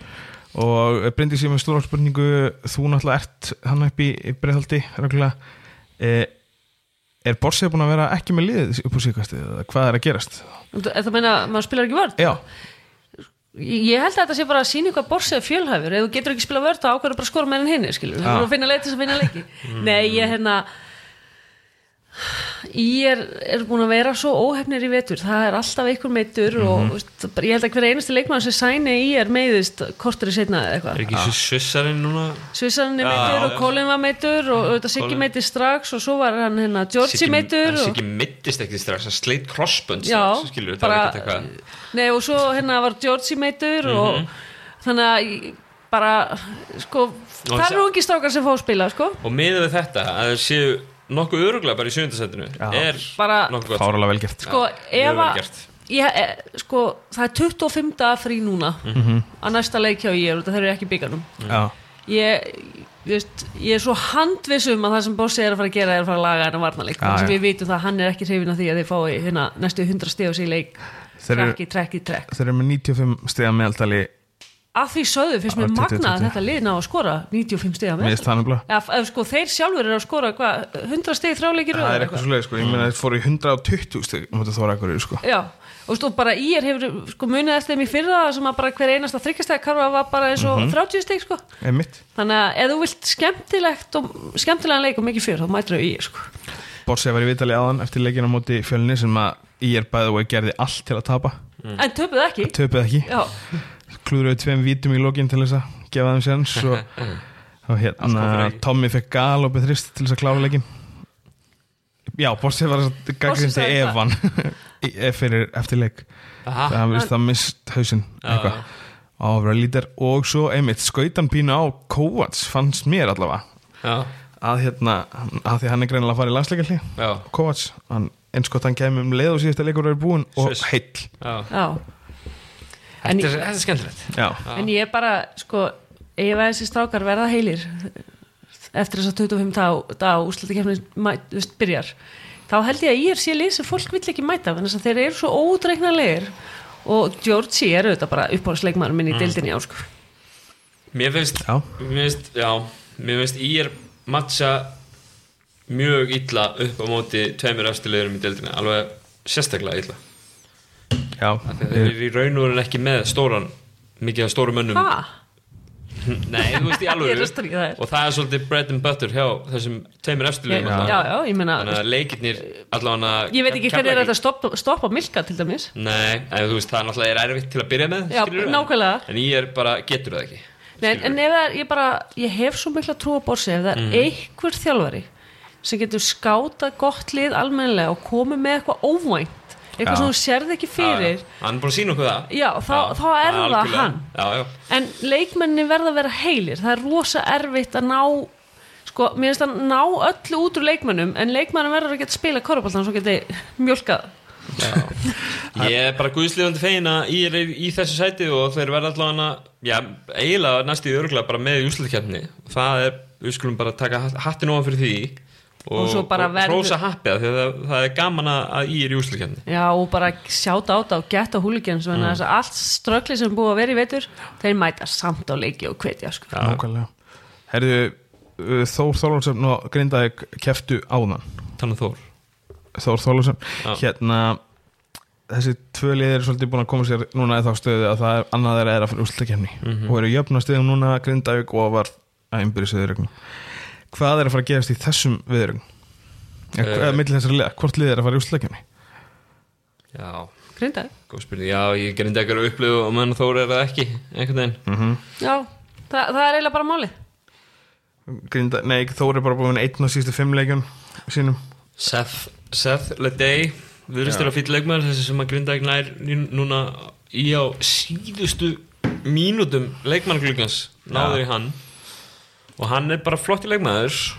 S1: og eh, Bryndís ég er með stóra spurningu þú náttúrulega ert hann upp í breyðhaldi reglulega eh, Er Borsið búin að vera ekki með liðið upp á síkastið eða hvað er að gerast?
S2: Er það meina, að maður spilar ekki vörð?
S1: Já,
S2: Ég held að þetta sé bara að sína hvað borsið er fjölhæfur, ef þú getur ekki spila vörð þá ákveður bara að skora meðan hinn, skilur.
S1: Ah.
S2: Þú voru að finna leið til þess að finna leiki.
S3: Mm.
S2: Nei, ég hérna, ég er, er búin að vera svo óhefnir í vetur, það er alltaf einhver meitur
S3: Mhm.
S2: og veist, bara- ég held að hver einasti leikmann sem sæni í er meiðist kortur í setna eða eitthvað.
S3: er ekki
S1: Ah.
S3: svo sussarinn núna
S2: Svissanin er
S3: Já,
S2: meitur og
S3: já.
S2: Colin var meitur og auðvitað Siggi
S3: Colin.
S2: meitir strax og svo var hann hérna Georgi meitur
S3: og...
S2: og,
S3: Siggi mittist ekki strax, hann sleit crossbund
S2: Já,
S3: strax, skilur, það
S2: bara-
S3: var ekkert eitthvað Mhm.
S2: nei, og svo hérna var Georgi meitur og þannig að ég- bara sko, það
S3: þessi-
S2: eru ungi strákar sem fá að spila sko,
S3: og miðað við þetta, að þeir séu nokkuð öruglega bara í sjöndasættinu
S1: Já.
S3: er
S2: Bara-
S3: nokkuð gott
S1: fáralega vel gert
S2: sko
S3: mjög
S2: ef
S3: vel
S2: að
S3: gert.
S2: ég, e, sko, það er 25 dagar frí núna
S1: Mhm.
S2: að næsta leik hjá ég og það eru ekki í bygganum
S1: Já,
S2: ég, ég veist, ég er svo handviss um að það sem Bossi er að fara að gera er að fara að laga hennar varnarleik
S1: Já,
S2: þannig sem
S1: já.
S2: við vitum það að hann er ekki hrifin af því að þeir fái hérna, næstu 100 stíð á sig í leik
S1: Þeir eru-
S2: trekki, trekki, trekk
S1: þeir eru með 95 stiga meðaldali
S2: að því sögðu finnst mér
S1: Já, 20,
S2: magna að
S1: 20.
S2: þetta lið ná að skora 95 stíð á
S1: með
S2: með
S1: stanabla
S2: ef, ef sko þeir sjálfur eru að skora hva, 100 stíð þráleikir
S1: Það er eitthvað svo leið, sko, ég meina þeir fóru í 120 stig mútið þóra akkur, sko
S2: Já, og stóð bara í er hefur sko munið eftir þeim í fyrra sem að bara hver einasta þryggjastæk karfa var bara eins
S1: Mhm.
S2: og 30 stík sko
S1: Einmitt,
S2: þannig að ef þú vilt skemmtilegt og skemmtilegan leik og mikið fyrir þá mætur þau í sko
S1: Borsið var í vitali áðan eftir leikina á móti fjölni sem að E IR bæði og gerði allt til að tapa
S2: en töpuð ekki
S1: töpuð ekki
S2: já,
S1: klúðraði tveim vítum í lokin til þess að gefa þeim séns
S3: (laughs)
S1: og, og
S3: Allt
S1: hérna
S3: kom fyrir ekki.
S1: Tommy fekk gal og betrist til þess að klára leikin Já, Borsið var gangrind til
S2: sagði það.
S1: Evan (laughs) í- eh, fyrir eftir leik
S3: Aha.
S1: það hann vist það mist hausinn eitthvað á að vera lítir og svo einmitt skautan pínu á Kovacs fannst mér allavega
S3: já,
S1: að hérna, að því hann er greinilega að fara í landsleikalli
S3: já,
S1: Kovacs, hann einskott hann kemur um leið og síðasta leikur er búinn og
S3: Sviss.
S1: heill
S3: já.
S2: já. En,
S3: Þetta, er, þetta er skemmtilegt
S1: Já,
S2: en ég bara sko, ef að þessi strákar verða heilir eftir þess að 25 dag, dag úrslutakefni byrjar þá held ég að ég er sé lið sem fólk vill ekki mæta þannig að þeir eru svo ódreiknarlegir og Georgi er auðvitað bara uppáhaldsleikmann minn í mm. deildinni á sko.
S3: mér finnst,
S1: Já.
S3: mér finnst, já mér finnst í er matcha mjög illa upp á móti tveimur eftirlegurum í deildinni alveg sérstaklega illa
S1: já
S3: Af því að þeir eru í raun og verið ekki með stóran mikið af stórum mönnum
S2: ha,
S3: Nei, þú veist í alveg
S2: (laughs) Ég er að stríða þér.
S3: og það er svolítið bread and butter hjá þessum tveimur
S2: ég,
S3: eftirlegurum
S2: já. já, ég meina
S3: þannig að leikirnir allavega
S2: ég veit ekki hvernig er þetta að stoppa, stoppa Milka til dæmis
S3: Nei, en þú veist, það er náttúrulega er erfitt til að byrja með
S2: Já,
S3: skilurðu, en-
S2: nákvæmlega.
S3: En ég er bara, getur það ekki
S2: Nei, en- en ef það er, ég bara, ég hef svo mikla trú á borsi, ef það er einhver þjálfari sem getur skátað gott lið almennilega og komið með eitthvað óvænt,
S1: Já.
S2: eitthvað sem þú sérð ekki fyrir,
S3: Já, já. Hann er búin að sína okkur það
S2: Já, þá- þá er það
S3: algjörlega.
S2: hann.
S3: Já, já,
S2: en leikmenni verða að vera heilir, það er rosa erfitt að ná, sko, mér finnst að ná öllu út úr leikmennum, en leikmennin verður að geta spila korfbóltan svo geti mjölkað.
S3: Ég er bara guðslifandi feina í, í þessu sæti og þeir verða allavega já, eiginlega næstu í örgulega bara með í úslutkjarni það er, við skulum bara taka hat- hattinn ofan fyrir því og,
S2: Og svo bara verður-
S3: hrósa happið af því að það, það er gaman að- að í er í úslutkjarni
S2: Já, og bara sjáta á þetta og geta húligans, mm. þess að allt ströggli sem er búið að vera í veitur, þeir mæta samt á leiki og hvetja, sko.
S1: Nákvæmlega Herðu, uh, Þór Þólarsson og Grindavík keftu áðan
S3: Þannig Þór
S1: Þór Þólarsson
S3: Já.
S1: Hérna, þessi tvö lið eru svolítið búin að koma sér núna í þá stöðu að það er annað þeirra er að fyrir úrslutakefni
S3: Mhm.
S1: og eru jöfna stöðum núna Grindavík og var að einbyrja söðurögnum Hvað er að fara að gerast í þessum viðurögn?
S3: Eh.
S1: Uh, Millir þessar liða, hvort lið er að fara í úrslutakefni?
S3: Já,
S2: Grindaði.
S3: góð spurning, já, ég gerði ekki að upplifu og menn Þór er það ekki, einhvern veginn
S2: Já, það, það er eiginlega bara málið
S1: Grinda, nei, Þór er bara búin að vinna einn á síðustu fimm leikjum sínum
S3: Seth, Seth Ledey viðrist er að fýtt leikmaður þessi sem að grinda ekki nær nú- núna í á síðustu mínútum leikmannglugans náður í hann og hann er bara flott í leikmaður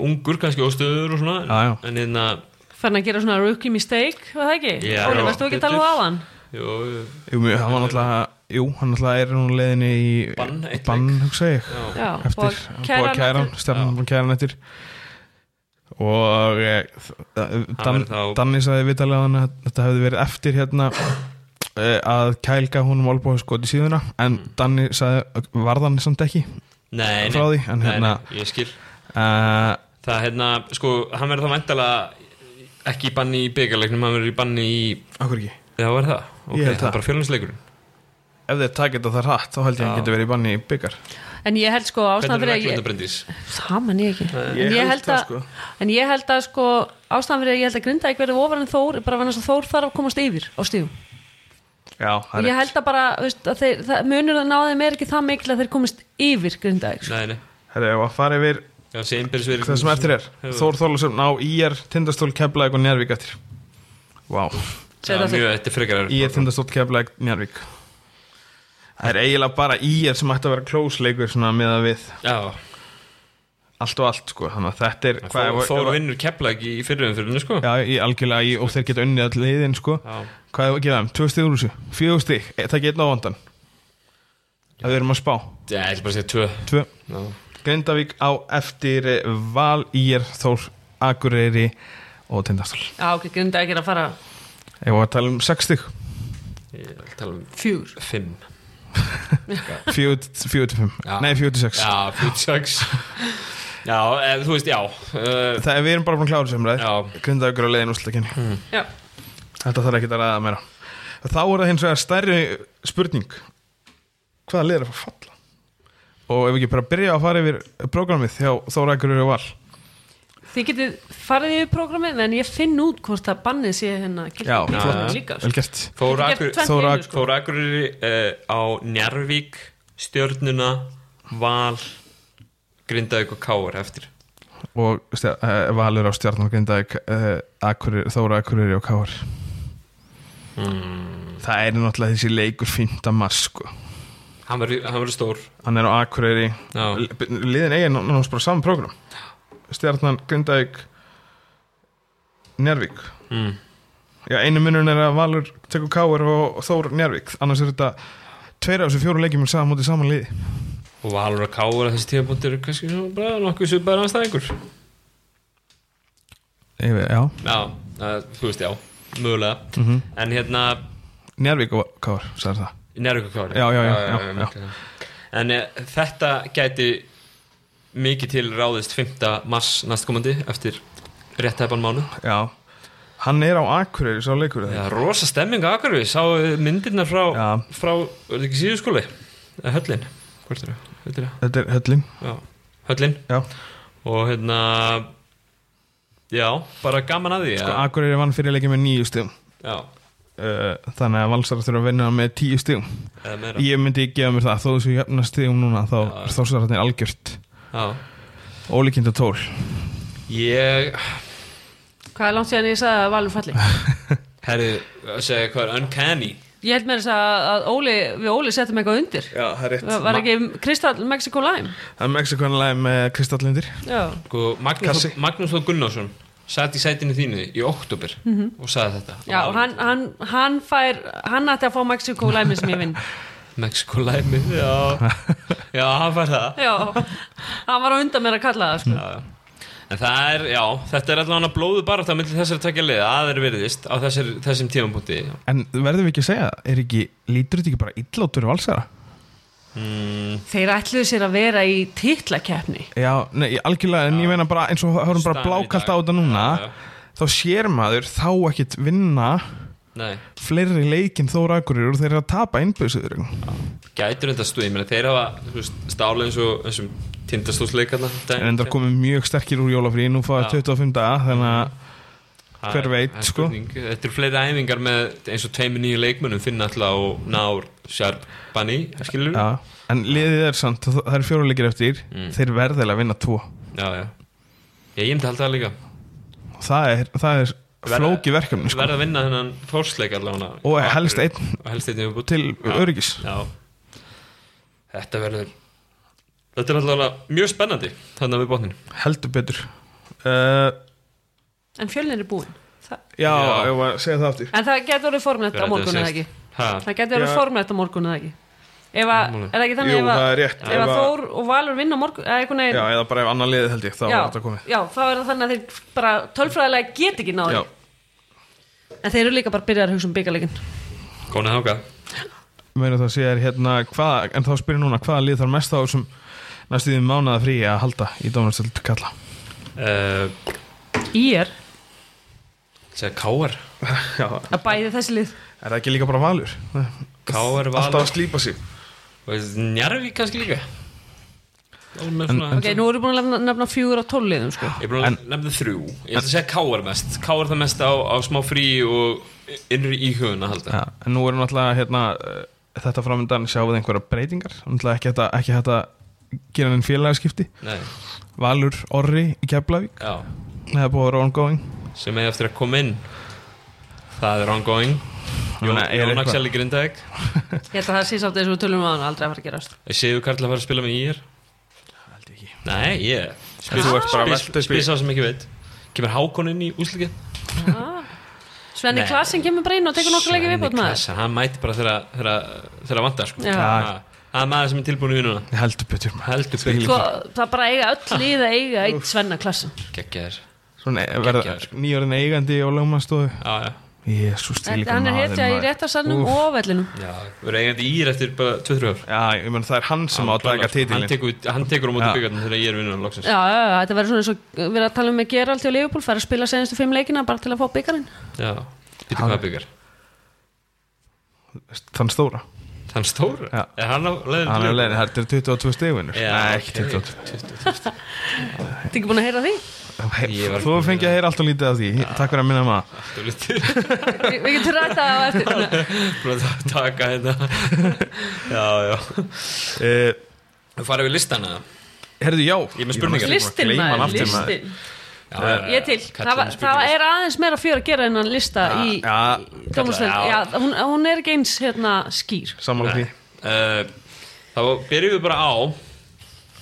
S3: ungur kannski óstöður og svona
S1: Já, já.
S3: en hérna
S2: farin að gera svona rookie mistake, var það ekki?
S3: Já,
S2: Óli, varst þú ekki að tala
S3: betur.
S2: á aðan?
S3: Jú, jú.
S1: Jú, mjö, hann var náttúrulega Jú, hann náttúrulega er nú leiðinni í
S3: Bann, eitt
S1: bann
S3: leik.
S1: hugsa ég
S3: Já.
S2: Já,
S1: Eftir, búið að kæra hann Stjarnan búið að kæra hann eftir Og eh, þ- Dan,
S3: verður þá-
S1: Danni sagði vitalega hann að þetta hefði verið eftir hérna eh, að kælga honum olbóðu skot í síðuna en
S3: Mm.
S1: Danni sagði, varð hann samt ekki
S3: Nei, nei,
S1: frá því, en
S3: nei,
S1: hérna-
S3: nei, ég skil
S1: uh,
S3: Það hérna, sko, hann verður þá væntalega ekki í banni í byggarleiknum, hann verður í banni í
S1: Akkur ekki
S3: Já, er það? Ok,
S1: Ég held
S3: það
S1: það.
S3: er bara fjölnisleikurinn
S1: Ef þeir takit þetta það rætt þá held ég að hann
S3: Já.
S1: getur verið í banni í byggar
S2: En ég held sko ástæðan
S3: Hvernig er
S2: fyrir að
S3: reglunda,
S2: ég,
S3: Bryndís?
S2: það man ég ekki
S1: Ég
S2: En
S1: held
S2: ég held
S1: það,
S2: að,
S1: sko.
S2: en ég held að sko ástæðan fyrir að ég held að grinda ekki verið ofar en Þór, er bara vegna þess að Þór þarf að komast yfir á stíðum
S1: Já,
S2: og ég held að bara, þú veist, að þeir, það, munur að náðum er ekki það mikil að þeir komist yfir grindaðik, sko.
S3: Nei, nei,
S1: Herri, ef að fara yfir
S3: já, sé einbyrðis verið
S1: það sem eftir er
S3: Hefur-
S1: Þór Þólusum á IR, Tindastól, Keflæk og Njárvík eftir Vá
S3: Já,
S2: Segðu það
S3: mjög, þetta er frekar erfitt.
S1: IR, Tindastól, Keflæk, Njárvík Það er eiginlega bara IR sem ætti að vera klósleikur svona með að við
S3: Já,
S1: allt og allt sko þannig að þetta er
S3: Hvað,
S1: ef-
S3: Þór, Þór
S1: ef-
S3: vinnur keplag í fyrirðum fyrirðinu sko
S1: Já, í algjörlega í, og þeir geta unnið all leiðin sko
S3: Já.
S1: Hvað er að gefa þeim? Tvö stig úr þessu, fjögur stig, e- takk einn á vandan Það við erum að spá
S3: Já, ég ætla bara að segja tvö
S1: Tvö
S3: Já.
S1: Grindavík á eftir eh, Val, IR, Þór, Akureyri og Tindastól
S2: Já, ok, grindaðik er að fara
S1: Ef við að tala um sex stig
S3: Ég ætla að tala um
S2: fjúr
S3: fimm
S1: 45,
S3: Já.
S1: nei 46
S3: Já, fjöld sex Já, eð, þú veist, já uh,
S1: Það er við erum bara búin að klára sem ræð
S3: Já. Hmm.
S1: Grindavíkur á leiðin úrslakenni mm.
S2: Já,
S1: Þetta þarf ekki að ræða meira Þá er það hins vegar stærri spurning Hvaða leiðir að fara að falla? Og ef við ekki bara byrja að fara yfir prógramið hjá Þóra Akureyri og Val
S2: þið getið farið yfir prógramið en ég finn út hvort að bannið sé hérna gildi.
S1: Já,
S2: Það
S1: flott.
S2: er líka, sko.
S1: Vel gert
S3: Þór
S2: Getur
S3: Akur
S2: gert tvennt í
S1: Þór
S2: einu,
S1: Ak-
S2: sko.
S3: Þór Akureyri uh, á Njarvík Stjörnuna Val Grindavík og Káar eftir
S1: Og stja, uh, Valur á stjarnan Grindavík, uh, Akureyri, Þóra Akureyri og Káar Það er náttúrulega þessi leikur 5. mars sko
S3: Hann verður hann verður stór
S1: Hann er á Akureyri
S3: Já.
S1: Li- Liðin eigin náttúrulega bara saman prógram Stjarnan, Grindavík Njárvík
S3: mm.
S1: Já, einu munurinn er að Valur tekur Káur og Þór Njárvík annars er þetta tveir af þessu fjóru leikjum er saman mútið saman liði
S3: Og Valur og Káar að þessi tíðabúndir er kannski svona bara nokkuð sem bara anstæðingur
S1: Yfir, Já,
S3: Já, uh, þú veist, já, mögulega
S1: Mhm.
S3: En hérna,
S1: Njárvík og Káur, sagði það
S3: Njárvíkakvári
S1: Já, já, já, já,
S3: já. En e, þetta gæti mikið til ráðist 5. mars næstkomandi eftir rétt hefðan mánu
S1: Já, hann er á Akureyri sá leikur er það
S3: Já, rosa stemming á Akureyri sá myndirna frá,
S1: Já.
S3: frá er þetta ekki síðuskóli? Eh, Höllin, hvort er það? Höllin, já.
S1: Þetta er höllin
S3: já, Höllin
S1: Já,
S3: og hérna já, bara gaman að því
S1: sko,
S3: að,
S1: Akureyri vann fyrir leikjum með nýju stigum
S3: já,
S1: uh, Þannig að Valsar þurfa að vinna með tíu stigum
S3: eða meira
S1: Ég myndi gefa mér það, þó þessu jafna stigum núna þá
S3: Já.
S1: er Þórsararnir algjört
S3: já.
S1: ólíkinda tól
S3: Ég,
S2: Hvað er langt síðan ég sagði að Valur falli?
S3: herri, að segja hvað er uncanny
S2: Ég held með þess að, að Óli, við Óli settum eitthvað undir
S1: Já, það er
S2: Það Var ekki Kristall Mexico Lime?
S1: Það er Mexikonulega með Kristallindir
S2: Já,
S3: Sko, Magnús,
S1: Kassi.
S3: Magnús Þór Gunnarsson satt í sætinu þínu í oktober og sagði þetta
S2: Mhm. Já og hann, hann, hann fær hann ætti að fá Mexico Lime sem ég vinn
S3: Mexiko læmi já. já, hann fær það
S2: Já, hann var á undan mér að kalla það sko.
S3: já. já. En það er, já, þetta er allavega blóðu barátt á milli þessari tvekja liða að er veriðist á þessir, þessum tímapunkti
S1: En verðum við ekki að segja, það? er ekki, lítur þetta ekki bara illa út fyrir Valsara?
S2: Þeir ætluðu sér að vera í titlakeppni
S1: Já, nei, ég- algjörlega, en ég meina bara eins og höfum bara
S3: Staðan í
S1: blákalt á
S3: dag.
S1: þetta núna
S3: Já, já.
S1: þá sér maður þá ekkit vinna
S3: Nei,
S1: fleiri leikinn þóra akkurir og þeir eru að tapa innbyrðsöður
S3: gætur þetta stuð, ég meina þeir hafa þú veist, stála eins og þessum hérna, tindastúsleikarna
S1: en endar komið mjög sterkir úr jólafrí nú fáið 25 daga þannig að hver veit, sko.
S3: Þetta eru fleiri æfingar með eins og tveimur nýju leikmönnum finna alltaf og Náur Sjarp Banni, skilur
S1: já, en liðið er samt, það- það eru fjóruleikir eftir
S3: Mm.
S1: þeir verðilega að vinna tvo
S3: Já, já Ég, ég myndi halda það líka
S1: og það er, það er flóki verkefni sko.
S3: Verða að vinna þennan fórsleik allavega
S1: og helst
S3: Akureyri.
S1: einn
S3: Og helst einn í viðbót.
S1: til
S3: Já.
S1: öryggis
S3: Já Þetta verður Þetta er allavega mjög spennandi Þannig að við botnin
S1: heldur betur uh,
S2: En fjölnir er búinn Það-
S1: Já,
S3: Já.
S1: ég var að segja það aftur
S2: En það getur orðið formlegt á morgun eða ekki
S3: Hæ?
S2: Það getur orðið
S1: Já.
S2: formlegt á morgun eða ekki Ef að, er það ekki þannig
S1: Jú,
S2: ef að,
S1: það er rétt.
S2: ef
S1: Ef
S2: að
S1: að-
S2: Þór og Valur vinna á morgun eða einhvern
S1: Já,
S2: veginn
S1: eða bara ef annar liðið held ég, þá var þetta komið
S2: já, þá er það þannig að þeir bara tölfræðilega get ekki náði
S1: Já,
S2: En þeir eru líka bara byrjar að hugsa um byggarleikin
S3: Kona þáka
S1: meira það sér hérna hvað, en þá spyrir núna hvaða lið þarf mest á þessum næstu því mánaða frí að halda í Dómarastöld kalla
S3: uh,
S2: Í er
S3: Segja K.R.
S1: Já, er
S2: að bæði þessi lið
S1: það ekki líka bara valur?
S3: K.R.
S1: Alltaf að
S3: Valur
S1: slípa sig
S3: Njarvík kannski líka Það var með
S1: En-
S3: svona-
S1: en-
S2: Ok, nú erum við búin að nefna, nefna fjögur á tólliðum sko.
S3: Ég er búin
S1: En-
S3: að nefna þrjú Ég ætla að segja K.R. mest K.R. það mest á, á smá frí og innri íhugun að halda
S1: Já, en nú erum náttúrulega hérna, eh, þetta framöndan sjáum við einhverja breytingar náttúrulega ekki þetta, ekki þetta gera enn félagaskipti
S3: Nei,
S1: Valur Orri í Keflavík
S3: já
S1: það er búið að vera ongoing
S3: sem hefði eftir að koma inn það er ongoing
S1: Ég
S3: Jón,
S1: meina, er
S3: Jón
S1: eitthvað?
S3: Axel í Grindæk
S2: Ég held að það sé sátt eins og við tölum að hann aldrei að fara að gerast
S3: Sigur Karl að fara að spila með ír
S1: held ég ekki
S3: nei, ég
S1: Þú ert bara að velta upp í-
S3: spisa sem ekki veit kemur Hákon inn í úslikið
S2: Svenni
S3: Nei.
S2: Klasin kemur bara inn og tekur nokkra leikir viðbót maður
S3: hann mæti bara þegar- þegar þegar vantar sko.
S2: Já.
S3: Ha, það er maður sem er tilbúin í vinnuna
S1: heldur betur maður.
S3: heldur byggt
S2: Sko, það bara eiga öll lið að eiga eitt Svenna Klasin
S3: geggjaður
S1: svona eh, verða
S3: Geggjaður, sko.
S1: nýjörðin eigandi og lögmanstofu
S3: Já, já.
S1: jésús til líka
S2: Hann er hetja í réttarsannum og á vellinum
S3: já, við erum eigandi ír eftir bara 2-3 ár
S1: já, ég menn það er hann sem á að
S3: Hann
S1: taka
S3: klárar, sko. hann
S1: titilin
S3: tekur- hann tekur á móti
S1: Já.
S3: byggarnir þegar ég er vinnunan loksins
S2: Já, já, já, þetta verður svona eins og við erum að tala um með Geralt og Leopold fara að spila senstu fimm leikina bara til að fá byggarinn
S3: já, býttu hvað byggar
S1: þann stóra
S3: Þann stóru?
S1: Já.
S3: Er hann á leiðinu?
S1: hann er leiðin, þetta er 22 stegvinur
S3: Já,
S1: nei, ekki
S3: ok.
S1: 22
S2: Þetta er ekki búin að heyra því?
S3: Ég var-
S1: þú fengið að heyra alltaf lítið af því takk fyrir að minna maður
S3: Þú lítið
S2: Vi, við getum ræta á eftir
S3: Búin að taka
S1: (laughs)
S3: þetta Já, já
S1: Eh,
S3: Þú farið við listana
S1: Herðu, já
S3: er með spurningar.
S2: Listin maður,
S1: listin
S2: listin Ég er til, það, var, það
S3: spurningar.
S2: er aðeins meira fjör að gera en að lista í,
S1: já,
S2: í dómstöld
S3: kalla,
S2: Já,
S3: já.
S2: hún, hún er ekki eins hérna skýr
S1: Sammála því
S3: uh, Þá byrjum við bara á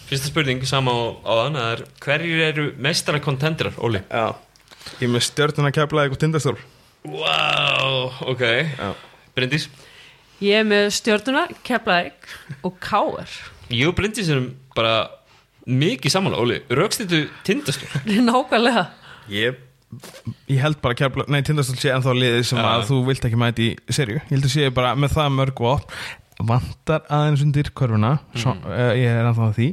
S3: Fyrsta spurning, sama á, á þann er, Hverjir eru meistara kontendrar, Óli?
S1: Já Ég er með stjörnuna keflaði og tindastól
S3: Wow, ok Bryndís?
S2: Ég er með stjörnuna, Keflæk og Káar
S3: Ég og Bryndís erum bara mikið samanlega, Óli Rökstýttu tindastur
S2: (laughs) Nákvæmlega
S1: Ég Ég held bara keflaði Nei, tindastól sé ennþá liðið sem
S3: Já.
S1: að þú vilt ekki mæti í serju Ég held að sé bara með það mörg og opn vantar aðeins undir körfuna
S3: Mhm.
S1: svo, uh, ég er ennþá að því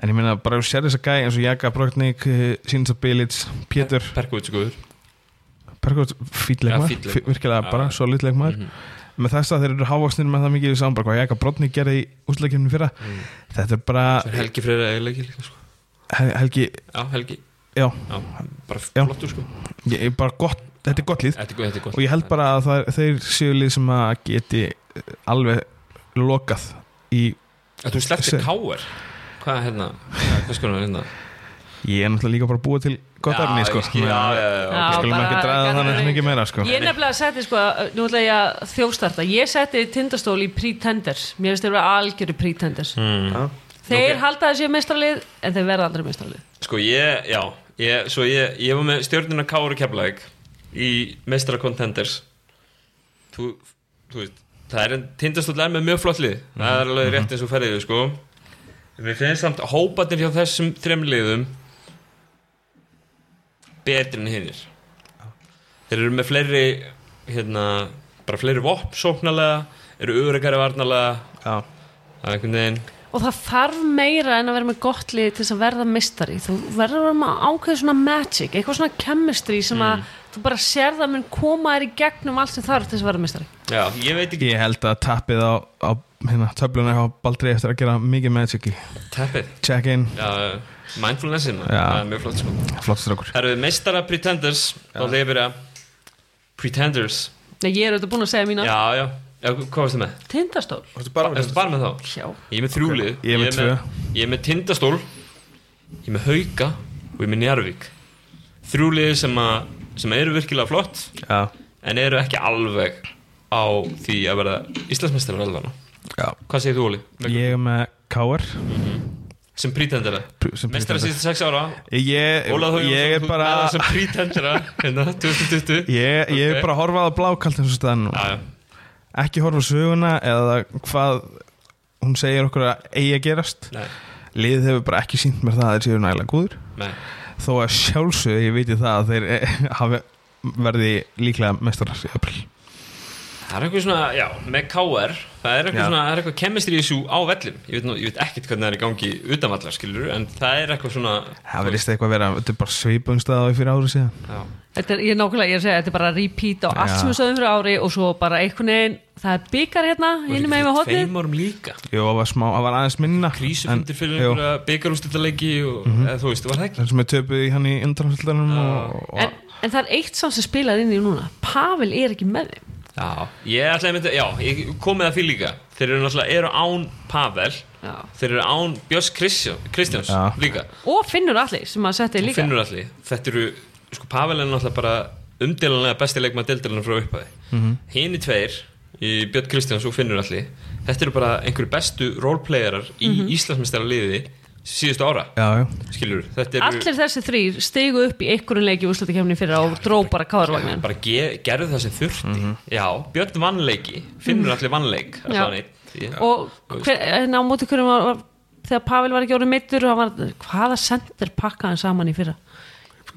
S1: en ég meina bara ef þú sér þess að gæja eins og Jaka Brotnik, uh, Sinsa Bilic, Pétur
S3: Perkútsgóður
S1: Bergótt
S3: Já,
S1: fýtleikmaður,
S3: fínn
S1: ja,
S3: leikmaður. Mhm.
S1: virkilega
S3: Já.
S1: bara solidleikmaður mm með þess að þeir eru hávaksnir með það mikið í sambar hvað Jaka Brotnik gerði í úsleikjumni fyrra
S3: Mhm.
S1: þetta er bara
S3: Helgi Freyra eiginlega líka, sko
S1: Hel- Helgi,
S3: Já, Helgi
S1: já,
S3: Já, bara
S1: Já.
S3: flottur sko
S1: ég er bara gott þetta er gott lið
S3: Þetta er gott, þetta er gott
S1: og ég held bara að það, er- þeir séu lið sem að geti eh, alveg lokað í,
S3: Að Þú slepptir
S1: Seg-
S3: káir Hvað er hérna? Hvað hvers konar er hérna?
S1: ég er náttúrulega líka bara búið til gott efni sko,
S3: ég skil, Já, já, já, já,
S2: Já.
S3: ok.
S1: skulum
S2: bara-
S1: ekki draga
S2: bara-
S1: þannig mikið meira sko
S2: Ég nefnilega setti sko, nú ætla ég að þjófstarta Ég setti tindastól í pretenders Mér finnst þeir vera algjöru pretenders
S1: Já.
S2: Þeir
S3: Ok.
S2: halda þessi mestralið En þeir verða aldrei mestralið
S3: Sko ég, já ég, Svo ég, ég var með stjórnina Káur og Keflæk Í meistara contenders Þú, þú veist Það er en tindastóll er með mjög flott lið Það er alveg rétt eins og ferðið sko Mér finnst samt hóparnir hjá þessum þrem liðum Betri en hinnir Þeir eru með fleiri Hérna, bara fleiri vopn Sóknalega, eru örugari varnalega
S1: Já.
S3: Það er einhvern veginn
S2: Og það þarf meira en að vera með gott lið Til þess að verða mestari Þú verður að vera með ákveð svona magic Eitthvað svona chemistry sem að Þú bara sér það mun koma þér í gegnum allt sem þarf Til þess að verða mestari
S3: Já, ég veit ekki
S1: ég held að tappið á, á hérna, töfluna á Baldri eftir að gera mikið magic í
S3: Teppið
S1: check-in,
S3: Já, mindfulnessin
S1: Já.
S3: Það er mjög flott sko
S1: flott strókur
S3: Það eru meistara Pretenders Þá lefir að Pretenders
S2: Nei, ég er auðvitað búin að segja mína
S3: Já, já, já Hvað varstu með?
S2: Tindastól
S3: Erstu bara með þá?
S2: Já,
S3: Ég er með þrjúlið
S1: Ég er með tvö.
S3: Ég er með Tindastól Ég er með Hauka Og ég er með Njarvík Þrjúlið sem að Sem eru virkilega flott
S1: já,
S3: En eru ekki alveg Á því að verða Íslandsmeistarar alveg
S1: já
S3: Hvað segir þú Óli?
S1: Ég er með K.R.
S3: sem prítendera
S1: Pr- sem
S3: meistara
S1: pretender.
S3: síðustu sex ára
S1: Ég,
S3: Ólaf Þór
S1: ég er
S3: Jónsson með
S1: bara
S3: það sem prítendera hérna
S1: (laughs)
S3: 2020
S1: Ég, ég er
S3: Ok.
S1: bara að horfa á það blákalt eins og staðan nú
S3: Já, já.
S1: Ekki horfa á söguna eða hvað hún segir okkur að eigi að gerast
S3: Nei,
S1: Liðið hefur bara ekki sínt mér það að þeir séu nægilega góður
S3: nei,
S1: Þó að sjálfsögðu ég viti það að þeir eh, hafi, verði líklega mestarar í april
S3: það er eitthvað svona, já, með KR það er eitthvað
S1: Já.
S3: svona, það er eitthvað kemistri í þessu á vellum ég veit, nú, ég veit ekkit hvernig það er í gangi utanvallar, skilur, en það er eitthvað svona
S1: Það verðist eitthvað vera, þetta er bara svipum staða fyrir ári síðan
S3: já,
S2: Þetta er, ég er nákvæmlega, ég er að segja, þetta er bara repeat á allt
S1: Já.
S2: sem við sögum fyrir ári og svo bara einhvern veginn, það er byggar hérna, hinn með með hotnið.
S3: tveim árum líka
S1: Jó, það var, smá, það var aðeins minna
S3: krísufundir fyrir
S1: jú,
S3: einhverja byggarústildalegi og eða, þú veist, var það ekki
S1: þar sem við töpuð í hann í undanhaldanum og,
S2: En,
S1: og,
S2: en það er eitt samt sem spilaði inn í núna, Pavel er ekki með þeim.
S3: Já, ég ætlaði að mynda, já, ég kom með það fyrir líka Þeir eru náttúrulega, eru án Pavel
S2: Já.
S3: Þeir eru án Björns Kristján, Kristjáns
S1: Já.
S3: líka
S2: Og Finnur Alli sem að setja í
S3: Og
S2: líka.
S3: finnur allir Þetta eru, sko, Pavel er náttúrulega bara umdelanlega besti leikmaður deildalinnar frá upphæði mm
S2: Mhm.
S3: -hmm. Hini tveir, í Björn Kristjáns og finnur allir Þetta eru bara einhverju bestu roleplayerar í
S2: Mhm.
S3: mm liði síðustu ára
S1: Já, já
S3: Skilur, þetta eru
S2: Allir þessi þrýr stigu upp í einhverjum leik í úrslutakefni fyrir og dró bara káðarvagnin.
S3: bara ge gerðu það sem þurfti Já, Björn vannleiki, finnur allir vannleik
S2: Mhm. Já.
S3: allan einn.
S2: og hver, en á móti hverjum var, var, þegar Pavel var ekki orðið meittur og hann var, hvaða sendir pakkaði hann saman í fyrra?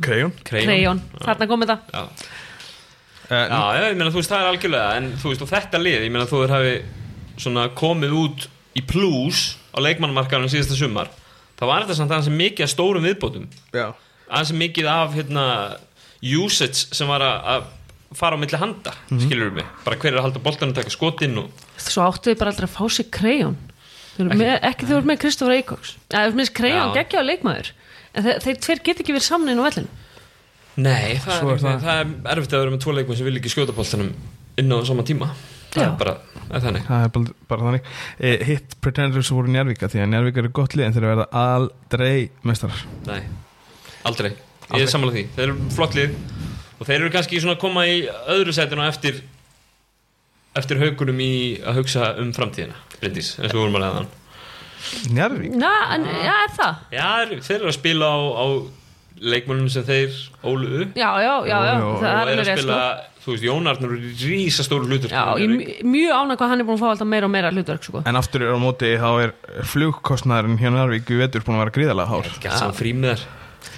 S1: Krejun
S2: Krejón, þarna kom þetta.
S3: Já.
S1: uh,
S3: Já, já, ég meina þú veist það er algjörlega en þú veist og þetta lið, ég meina þú er hafi svona komið út í plús á leikmannmarkaðunum síðasta sumar þá var þetta samt aðeins mikið af stórum viðbótum
S1: Já
S3: aðeins mikið af hérna usage sem var að, að fara á milli handa, mm skilur við mig bara hver er að halda boltanum, taka skotinn og
S2: Svo áttu þið bara aldrei að fá sér krejón Ekki þú voru með Kristofur Eikóks Það er með krejón
S3: Já.
S2: geggja á leikmaður En þeir, þeir tveir get ekki verið samnin á vellinu
S3: Nei, það,
S1: Svo
S3: er,
S1: er
S3: það.
S1: það.
S3: er erfitt að vera með tvo leikmenn sem vil ekki skjóta boltanum inn á sama tíma það
S2: Já.
S3: er bara, það er þannig
S1: Það er bara, bara þannig e, Hitt Pretenders voru njárvíka því að njárvíka eru gott lið en þeir verða aldrei mestarar
S3: Nei, aldrei Ég er samanlega því, þeir eru flott lið og þeir eru kannski svona að koma í öðru sætinu eftir eftir haugunum í að hugsa um framtíðina Bryndís, eins og við vorum að um. leðan
S1: Njárvík?
S2: Já, en, já, er það
S3: Já, þeir- þeir eru að spila á, á leikmönnum sem þeir óluðu
S2: Já, já, já, já,
S1: Jú, jú,
S2: það er
S3: og eru
S2: alveg
S3: að
S2: rétt
S3: spila,
S2: sko.
S3: þú veist, Jónarnur eru rísastóru hlutur
S2: Já, ég er mjög ánæg hvað hann er búin að fá alltaf meira og meira hlutverk sko.
S1: En aftur er á móti þá er flugkostnaðurinn hjá njárvík í vetur búin að vera gríðalega hár
S3: Gælt saman frímiðar,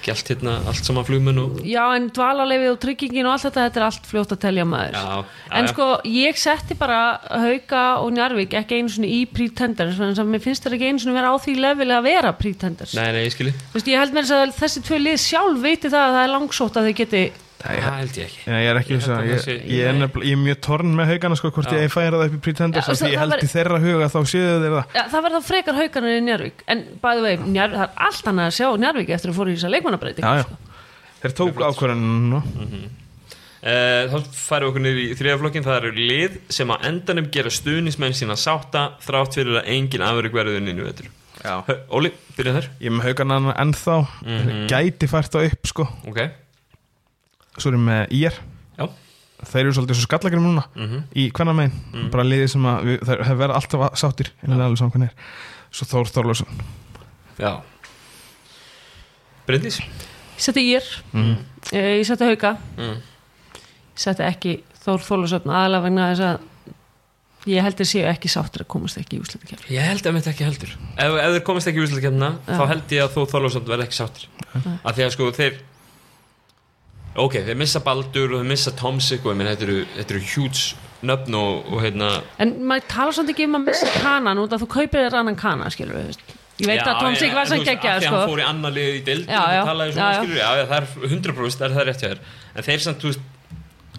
S3: gælt hérna allt saman flugmenn og
S2: Já, en dvalarleifi og tryggingin og allt þetta Þetta er allt fljótt að telja maður
S3: Já, já,
S2: En
S3: já.
S2: sko, ég setti bara Hauka og Njarvík ekki einu svona í pretenders Þannig að mér finnst þetta ekki einu svona vera á því leveli að vera pretenders
S3: Nei, nei, ég skilji
S2: Þú veist, ég held með þess að þessi tvö lið sjálf veiti það að það er langsótt að þau geti
S3: Það held ég ekki
S1: Nei, Ég er ekki
S3: Ég
S1: þess að
S3: held að
S1: ég,
S3: það sé-
S1: ég, er nefnilega- ég er mjög torn með haugana sko hvort ég færa það upp í Pretenders
S2: Já,
S1: af
S2: það-
S1: því ég
S2: það
S1: held
S2: var-
S1: í þeirra huga þá séu þeir það
S2: ja, það verða frekar haukarnir í Njárvík en bæðu vei, njár, það er allt annað að sjá Njárvík eftir að fóra í þessa sko. leikmannabreiting
S1: Já, já Þeir tók ákvörðunum
S3: Eh, Þá færum við okkur niður í þriðaflokkin Það eru lið sem að endanum gera stuðnismenn sína sátta þrátt fyrir að engin afrygg verður nýnu vetur
S1: Já. Mhm.
S3: Hö- Óli, byrja þér
S1: Ég er með haugana ennþá Gæti fært þá upp sko
S3: Ok,
S1: Svo er ég með IR
S3: já,
S1: þeir eru svolítið svo skallagrum núna í hvernig megin, bara liðið sem að við, þeir þeir verða alltaf að- sáttir en það er alveg saman hvernig er svo Þór Þorlósson
S3: já. Bryndís
S2: ég seti ír,
S1: Mhm.
S2: eh, ég seti hauka ég
S3: Mm.
S2: seti ekki Þór Þólusöfn aðalega vegna þess að ég held þeir séu ekki sáttir að komast ekki í úsleitikefni
S3: Ég held að mitt ekki heldur Ef, ef þeir komast ekki í úrslutakefna þá held ég að þó Þorlófsson verði ekki sáttir Af því að sko þeir Ok, þeir missa Baldur og þeir missa Tomsik og ég minn, þetta eru, þetta eru huge nöfn og, og hérna
S2: en maður talar svolítið ekki um að missa kanan út að þú kaupir þér annan kana, skilur við veist. ég veit að Tom Sig var
S3: en
S2: sann
S3: þú veist, af
S2: geggjað
S3: því að
S2: sko.
S3: hann fór í annar lið í deildin
S2: Já,
S3: og
S2: já,
S3: talaði svona
S2: já, já.
S3: skilur já, já, það er 100% það er það rétt hjá þér en þeir samt, þú veist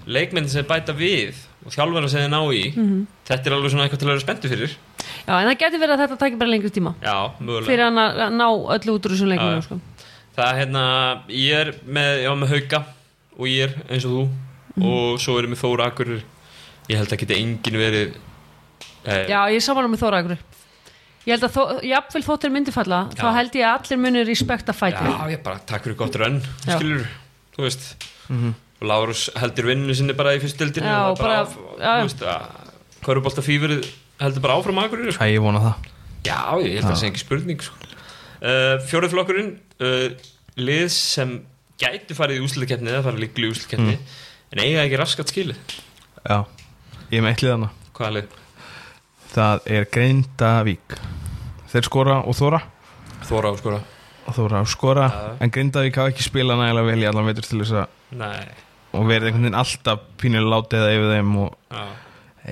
S3: leikmenn sem bæta við og þjálfara sem þeir ná í
S2: Mhm.
S3: þetta er alveg svona eitthvað til að vera spenntu fyrir
S2: já, en það geti verið að þetta taki bara lengri tíma
S3: já, mögulega
S2: fyrir hann að að ná öllu út úr þessum
S3: Já, já.
S2: leikmannum sko.
S3: það er hérna, ég er með ég var með Hauka og ég er eins og þú
S2: Mhm.
S3: og svo erum við Þóra Akur ég held að geti engin verið eh,
S2: Já, ég er saman með Þóra Agru Ég held að þó, jafnvel þóttir myndi falla þá
S3: Já.
S2: held ég að allir munir respekta fæti
S3: Já, ég bara takk fyrir gott rönn
S2: Já.
S3: skilur, þú veist og Lárus heldur vinnu sinni bara í fyrst dildinu
S2: Já,
S3: og það er bara,
S2: bara-
S3: af,
S2: já, já.
S3: þú veist að Körubolt að heldur bara áfram aðgurir sko.
S1: Æ, ég vona það
S3: Já, ég held að það sé ekki spurning sko. uh, fjórið flokkurinn uh, lið sem gætu farið í úslutakefni eða farið líklu í úslutakefni en eiga ekki raskat skilu
S1: Já, ég er með eitt lið hana
S3: hvaða lið?
S1: Það er Grindavík Þeir skora og þóra
S3: Þóra á skora
S1: og þóra og skora
S3: Já.
S1: en Grindavík hafa ekki spilað nægilega vel í allan veitur til þess að
S3: Nei,
S1: og verið einhvern veginn alltaf pínulega látið eða yfir þeim og
S3: já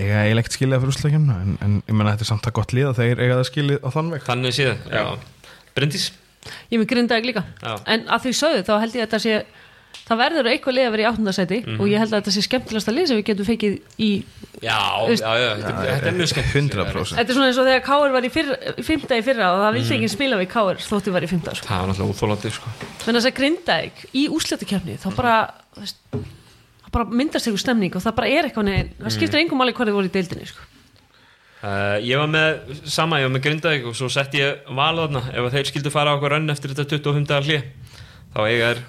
S1: eiga eiginlega ekkert skiljaða fyrir úsleikjumna en, en ég menna þetta er samt að gott lið að þeir eiga það skilið á þann veg
S3: Þannig séð, já Bryndís?
S2: Ég er með grindaðið líka
S3: Já.
S2: En að því sögðu þá held ég að þetta sé Það verður eitthvað lið að vera í áttundasæti
S3: Mhm.
S2: og ég held að þetta sé skemmtilegasta lið sem við getum fekið í
S3: Já, já,
S2: Veist-
S3: já, þetta er- þetta er mjög skemmt
S1: 100%
S2: Þetta er svona eins og þegar Káur var í fyrra, fymta í fyrra og það
S3: Mhm.
S2: vildi ekki spila við Káur þótti var í fymta sko.
S3: Það var náttúrulega úþólandi, sko
S2: Menn þess að Grindavík í úsletakefni þá bara, þú veist, það bara myndast eitthvað stemning og það bara er eitthvað neginn það
S3: Mhm.
S2: skiptir engum máli hvað þið voru í deildinni sko.
S3: Uh, ég var með, sama, ég var með Grindavík og svo sett ég valðarna ef að þeir skildu fara á okkur önn eftir þetta 25 dagar hlið þá eiga er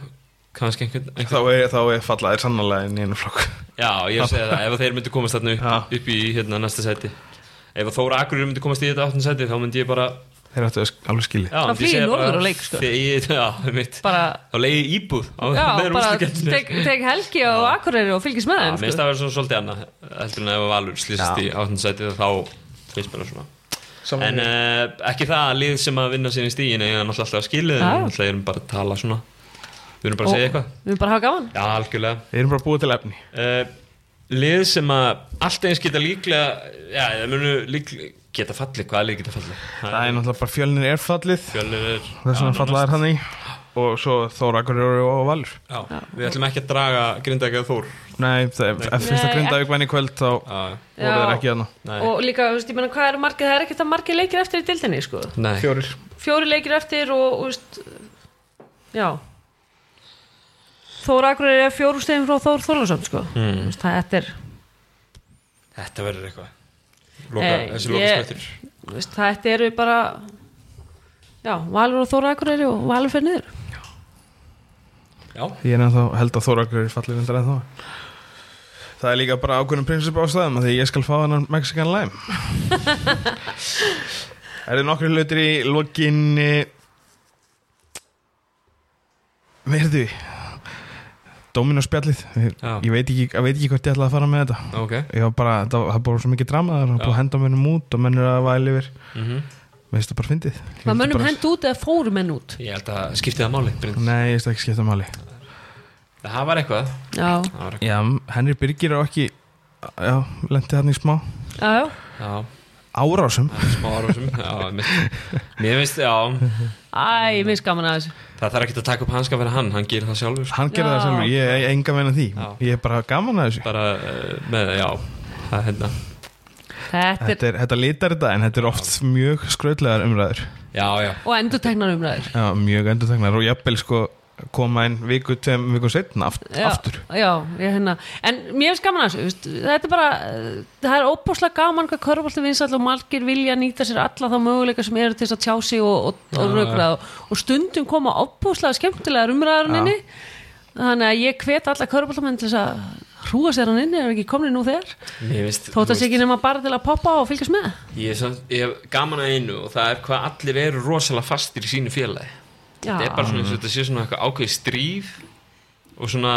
S3: kannski einhvern,
S1: Þá
S3: einhvern
S1: er, þá er fallaðir sannlega inn í einu flokk (laughs)
S3: já, ég segi það, ef að þeir myndu komast þarna upp,
S1: Já.
S3: upp í hérna næsta seti ef að Þóra Akurir myndi komast í þetta 18 seti þá myndi ég bara já,
S1: Þeir áttu að- alveg skilið
S3: myndi ég
S2: flýgi
S3: segja bara,
S2: norður á leik, sko.
S3: þegi- (laughs) já, mitt,
S2: bara,
S3: þá leiði íbúð á
S2: já,
S3: meður
S2: bara
S3: úrstakendinu
S2: tek, tek helgi og akureyri og fylgist með
S3: Já,
S2: þeim
S3: mér finnst
S2: sko.
S3: það að vera svona svolítið annað heldur en ef að Valur slýsist í 18 seti þá finnst mér það svona en uh, ekki það að lið sem að vinna sín í stígin eða náttúrulega alltaf að skilið en
S2: Já.
S3: náttúrulega erum bara að tala svona við erum bara að segja
S2: Og
S3: eitthvað
S2: við erum bara að hafa gaman
S3: já, algjörlega
S1: Þeir eru bara búið til efni
S3: uh, lið sem að allt eins geta líklega já, það munu líklega geta fallið, hvaða lið geta fallið
S1: Það er náttúrulega bara fjölnir er fallið
S3: fjölnir er
S1: þess
S3: Já,
S1: vegna fallaðir hann í og svo Þóra Akureyri og Valur
S3: já, við ætlum ekki að draga grinda ekki að þór
S1: Nei, það er ef fyrst að
S2: Nei,
S1: Grindavík venni kvöld þá voru
S3: já,
S1: þeir ekki hérna. hana
S3: nei,
S2: og líka, þú veist, ég menna, hvað er margir það er ekkert að margir leikir eftir í deildinni sko.
S3: nei.
S1: Fjórir
S2: fjóri leikir eftir og, og veist, já Þóra Akureyri er fjóru stegin frá Þór Þórlason sko. mm. veist, það þetta er
S3: þetta verður eitthvað loka,
S2: Nei,
S3: þessi
S2: ég-
S3: loka skvættir
S2: Þú veist, það þetta eru bara já, Valur og Þóra Akureyri og Valur fyrir niður
S3: já,
S1: Ég er ennþá held að Þóra Akureyri fallir undir ennþá Það er líka bara ákveðnum prinsip ástæðum af því ég skal fá hennar Mexican
S3: (laughs)
S1: Lime Er þið nokkri hlutir í lokinni Verðu Dominó spjallið
S3: Já.
S1: ég veit, ekki, ég veit ekki hvort ég ætlaði að fara með þetta
S3: ok
S1: Ég var bara, það, það búið svo mikið drama þar Það
S3: Já.
S1: búið að henda mönnum út og mennur að væli yfir
S3: mm
S1: Mér finnst það bara fyndið Ég
S2: var
S1: vildi
S2: mönnum
S1: bara-
S2: hend út eða fóru menn út
S3: ég held að skipti það máli Bryndís.
S1: Nei, ég veist ekki skipta máli
S3: það var eitthvað
S2: já,
S3: það var eitthvað
S1: Já, Henry Birgir er ekki Já, lendi hann í smá
S2: já, já,
S3: já.
S1: Árásum
S3: smá árásum já, mér, mér finnst, já
S2: æ, mér finnst gaman að þessu
S3: það þarf ekki að taka upp hanska fyrir hann, hann gerir það sjálfur sko.
S1: Hann gerði
S2: Já.
S1: það sjálfur, ég er enga meina því
S3: Já.
S1: Ég er bara gaman að þessu
S3: bara uh, með, já það er hérna,
S2: þetta er,
S1: Þetta, er, þetta litar þetta en þetta er oft mjög skröðlegar umræður
S3: já, já
S2: og endur tegnar umræður
S1: Já, mjög endurtegnar og jafnvel sko koma inn viku, tveim viku setna aft,
S2: já,
S1: aftur
S2: já, ég, hérna. en mér finnst gaman að þessu veist, þetta er bara, eh, það er óbúslega gaman hvað körfaldi vinsall og margir vilja nýta sér alla þá möguleika sem eru til þess að tjá sig og, og, og rökra og, og stundum koma óbúslega skemmtilegar umræðarinninni þannig að ég hvet alla körfaldamenn til þess að hrúa sér hann inni ef ekki komni nú þegar
S3: mér finnst, þú
S2: þótt að sé ekki nema bara til að poppa á og fylgjast með
S3: ég, er samt, ég hef gaman að einu og það er hvað allir eru rosalega fastir í sínu félagi
S2: já,
S3: þetta er bara svona eins og þetta sé svona eitthvað ákveðið stríð og svona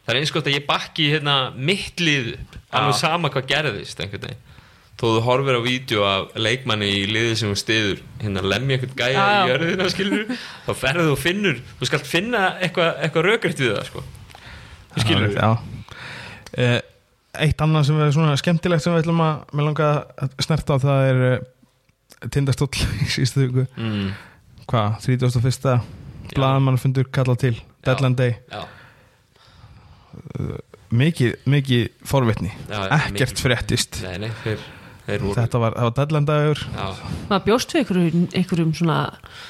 S3: það er eins gott að ég bakki hérna mitt lið upp, alveg sama hvað gerðist einhvern veginn þó þú horfir á vídeo af leikmanni í liðið sem hún stiður hérna lemja einhvern gæja
S2: Já,
S3: í
S2: já.
S3: jörðina skilur þá ferðu og finnur, þú skalt finna eitthvað eitthva rökriðt við það sko þú skilur
S1: Já Eh, Eitt annað sem er svona skemmtilegt sem við ætlum að með langa að snerta á það er eh, tindastóll í síðustu viku
S3: mm,
S1: hvað, 31. blaðamannfundur kallað til, deadline day
S3: já,
S1: mikið, mikið forvitni
S3: Já, já,
S1: ekkert
S3: mikið.
S1: fréttist
S3: nei, nei, þeir, þeir voru
S1: þetta var, það var deadline dagur
S3: já,
S2: maður bjóst við einhverjum, einhverjum svona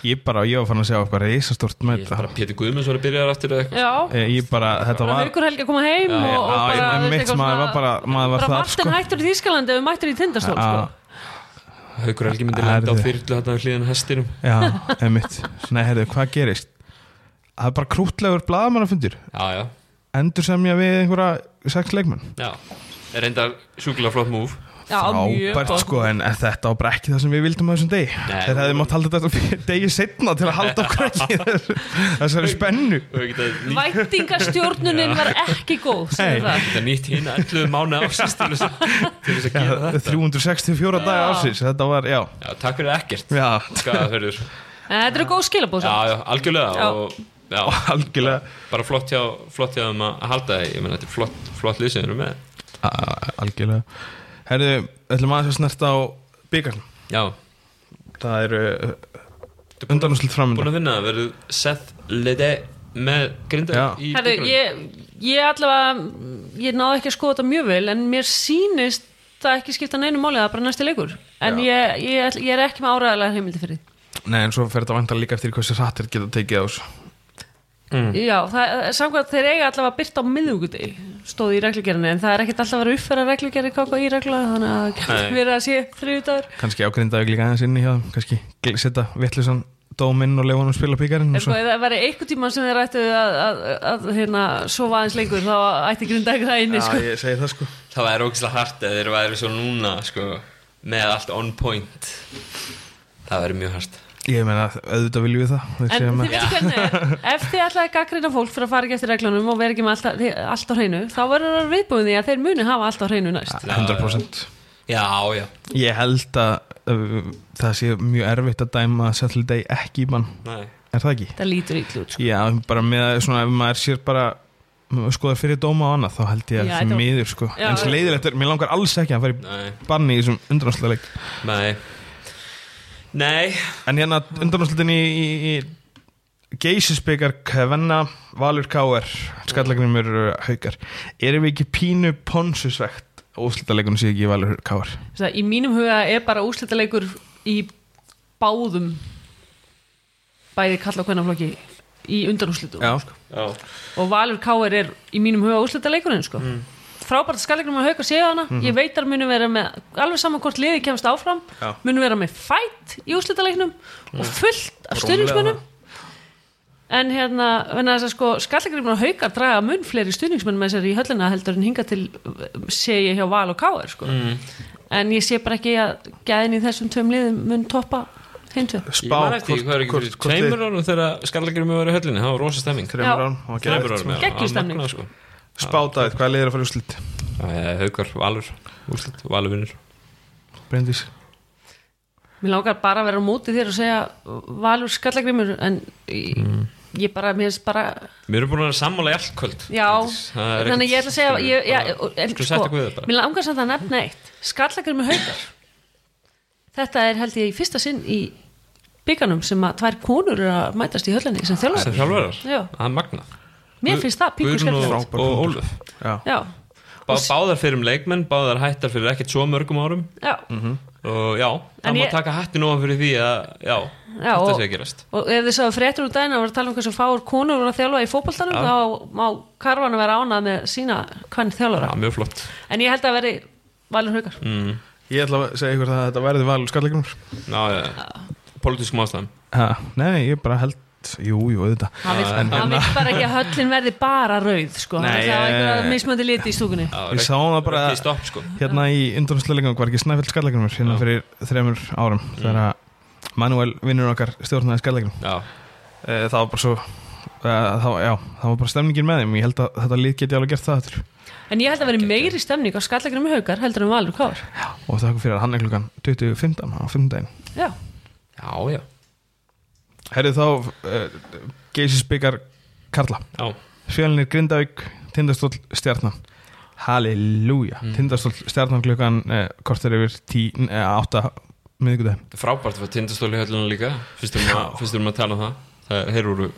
S1: ég bara, ég var fann að sjá eitthvað reisastort
S3: ég
S1: með
S3: held bara
S1: þetta
S3: Pétur Guðmunds var að byrja aftur eða eitthvað
S2: já,
S1: Eh, ég bara, þetta
S2: bara
S1: var
S2: haukur helgi að koma heim og, og
S1: Já,
S2: bara,
S1: ég-
S2: þú veist,
S1: mitt,
S2: eitthvað
S1: maður
S2: svona-
S1: var bara, maður var
S2: bara
S1: þar
S2: Martin
S1: sko
S2: hættur í Þískalandi ef við mættur í tindastól
S1: Já.
S2: sko.
S3: Haukur Helgi myndi lenda á
S1: Herðu.
S3: þyrlu hérna við hliðin hestinum
S1: já, emitt, nei, herðu, hvað gerist það er bara krútlegur blaðamannfundur
S3: já, já,
S1: endur semja við einhverja sex leikmann
S3: já, er enda sjúkilega flott múf
S2: Já, mjög
S1: frábært
S2: gott.
S1: sko en þetta var bara ekki það sem við vildum á þessum degi
S3: Nei.
S1: þeir hefði mátt halda þetta (laughs) fyrir degi setna til að halda okkur (laughs) ekki í þessu- þessari spennu
S3: og við getum líka
S2: Væntingastjórnunin var ekki góð
S1: Nei.
S2: sem
S3: (laughs)
S2: það
S3: þetta nýtt hinn 11 mánu ásins til þess að til þess að gera
S1: Hérna
S3: það
S1: 364 daga
S2: Já.
S1: ásins þetta var, já,
S3: já, takk fyrir ekkert
S1: já (laughs)
S3: skaðaförður já,
S2: En þetta eru góð skilabóð samt.
S3: já, algjörlega
S2: Já.
S3: og já,
S1: algjörlega
S3: bara flott hjá flott hjá um að halda það ég meina þetta er flott, flott lýsið við erum með
S1: A- algjörlega herðu, ætlum aðeins að snerta á byggarn
S3: já,
S1: það eru undanúslut
S3: búin
S1: framönda
S3: að vinna það verður Seth Lede með grinda
S1: Já.
S3: í
S2: Herru,
S3: byggarnum.
S2: ég, ég allavega, ég náði ekki að skoða þetta mjög vel en mér sýnist það ekki skipta neinu máli, það er bara næsti leikur en ég, ég, ætl- ég er ekki með áræðalega heimildi fyrir því.
S1: nei, en svo fer þetta vantar líka eftir hversu sattir geta tekið á þessu
S2: Já, það, samkvæmt þeir eiga allavega byrt á miðugudegi stóð í reglugerinni en það er ekkert alltaf að vera uppfæra reglugerði kaka í regla þannig að það (laughs)
S3: Nei.
S2: getur verið að sé þriðudagur
S1: kannski ágrindaðu líka aðeins inn í hjá þeim kannski gl- setja vittlusan dóminn og leifa hann að spila byggarinn
S2: Ef það væri einhver tíma sem þeir ættu að, að, að hérna, sofa aðeins lengur þá ætti grinda ekki það inni sko.
S1: ég segi það sko
S3: það væri ógislega hart eða þeir væri svo núna sko, með allt on point það væri mjög hart
S1: Ég meina, auðvitað viljum við það Þeir
S2: En
S1: segja
S2: þið
S1: með-
S2: veitu hvernig er,
S1: (laughs)
S2: ef þið ætlaði að gaggrina fólk fyrir að fara ekki eftir reglunum og vera ekki með allt, þið- allt á hreinu, þá verður það viðbúin því að þeir muni hafa allt á hreinu næst.
S1: 100%
S3: já, já,
S1: Ég held að uh, það sé mjög erfitt að dæma Settle Day ekki í mann,
S3: næ
S1: er það ekki?
S2: Það lítur ítlu út. sko.
S1: Já, bara með að svona ef maður sér bara skoðar fyrir dóma og annað þá held ég að það
S2: Já, þetta
S1: er
S2: var-
S1: miður sko
S2: Já.
S1: en svo leiðilegt er, mér langar alls ekki að fara í
S3: Nei,
S1: banni í þessum undanúslega leik
S3: nei Nei,
S1: en hérna undanúslutin í, í, í geysisbyggar Kvenna, Valur Káer skallagrimur uh, haukar erum við ekki pínu ponsusvegt úslutaleikunum sé ekki í Valur Káer
S2: Það, í mínum huga er bara úslitaleikur í báðum bæði kalla og hvernaflokki í undanúslitum.
S1: Já,
S3: já,
S2: Og Valur Káir er í mínum huga úslitaleikurinn, sko.
S1: Mm.
S2: Frábært skalleknum að hauka séu hana.
S1: Mhm.
S2: Ég veit að munu vera með, alveg saman hvort liði kemst áfram,
S1: Já. Mm.
S2: munu vera með fætt í úslitaleiknum og fullt af
S1: Rólega
S2: stuðningsmönnum.
S1: það.
S2: En hérna, hérna þess að sko, skallagrimur og haukar draga mun fleiri stuðningsmenn með sér í höllina heldur en hinga til uh, sé ég hjá Val og Káar, sko.
S1: Mm.
S2: En ég sé bara ekki að gæðin í þessum tveim liðum mun toppa hintu.
S3: ég man
S1: spá
S3: eftir, hvað er ekki fyrir tveimur árum þegar skallegjum við varum í höllinni, það var rosa stemming
S2: Já.
S1: Tremur án og
S3: Tveimur
S1: gerðið
S3: árum, já,
S2: Geggjuð
S3: það var
S2: stemning.
S3: magnað, sko.
S1: Spátaðið, hvað leiðir að fara í úrslit?
S3: Eh, Haukar, Valur, úrslit, Valur vinnur
S1: Bryndís
S2: Mér langar bara að vera á móti þér og segja uh, Valur skallagrimur, en ég,
S3: Mm.
S2: ég bara, mér finnst bara,
S3: Við erum búin að vera sammála í allt kvöld
S2: já,
S3: Það er
S2: þannig að ég ætla að segja,
S3: ekkert-
S2: ég, já,
S3: bara-
S2: en,
S3: Skulum
S2: sko,
S3: sætta guðið bara.
S2: mér langar samt að nefna eitt. Skallagrimur haukar. Þetta er held ég í fyrsta sinn í bygganum sem að tvær konur eru að mætast í höllinni sem
S3: sem
S2: þjálfur.
S3: þjálfarar,
S2: Já.
S3: það er magnað
S2: Mér finnst það píkur
S3: Guðrún
S2: skemmtilegt.
S3: og, og Óluf
S1: Já,
S2: Já,
S3: Bá, Báðar fyrir um leikmenn, báðar hættar fyrir ekkert svo mörgum árum
S2: já.
S3: Mhm. og já, það
S2: En
S3: má
S2: ég-
S3: taka hattin ofan fyrir því að já,
S2: Já,
S3: þetta
S2: og-
S3: sé að gerast
S2: Og ef þið sáðu fréttur úr daginn að vera að tala um hversu fáur konur voru að þjálfa í fótboltanum þá má karvan að vera ánað með sína hvern
S3: Já,
S2: þjálfara.
S3: mjög flott Mm.
S2: En ég held að veri valur haukar.
S1: ég ætla að segja ykkur það að þetta verði valur skallegnur
S3: Já, já, pólitískum ástæðum
S1: Nei, ég bara held, jú, jú, auðvitað
S2: Hann vill,
S1: En hérna-
S2: hann vill bara ekki að höllin verði bara rauð sko.
S1: Nei,
S2: Nei, það er
S1: eh,
S2: eitthvað mismöndi liti í stúkunni
S3: Já,
S1: Ég
S3: rek-
S1: sá það bara-
S3: rekki í stopp, sko.
S1: Hérna í undanúslega leikang var ekki snæfjöld skallegnur hérna
S3: Já. Mm.
S1: fyrir þremur árum þegar að Manuel vinnur okkar stjórnaði skallegnum
S3: Já,
S1: Það var bara svo eh, það var, já, það var bara stemningin með þeim Ég held að þetta lið geti alveg gert það aftur
S2: En ég held að veri meiri stemning á skallakrum í haukar heldur en valur kár
S1: og þakku fyrir að hann er klukkan 20.15 á 5 daginn
S2: Já,
S3: já, já,
S1: Herðu þá uh, geysisbyggar Karla
S3: já.
S1: Fjölnir Grindavík, Tindastól Stjarnan Halleluja Tindastól Stjarnan klukkan eh, kortur yfir tí, eh, átta miðvikudaginn
S3: Frábært fyrir tindastóli hölluna líka Fyrst erum að- fyrst erum að tala um það Það er, þeir eru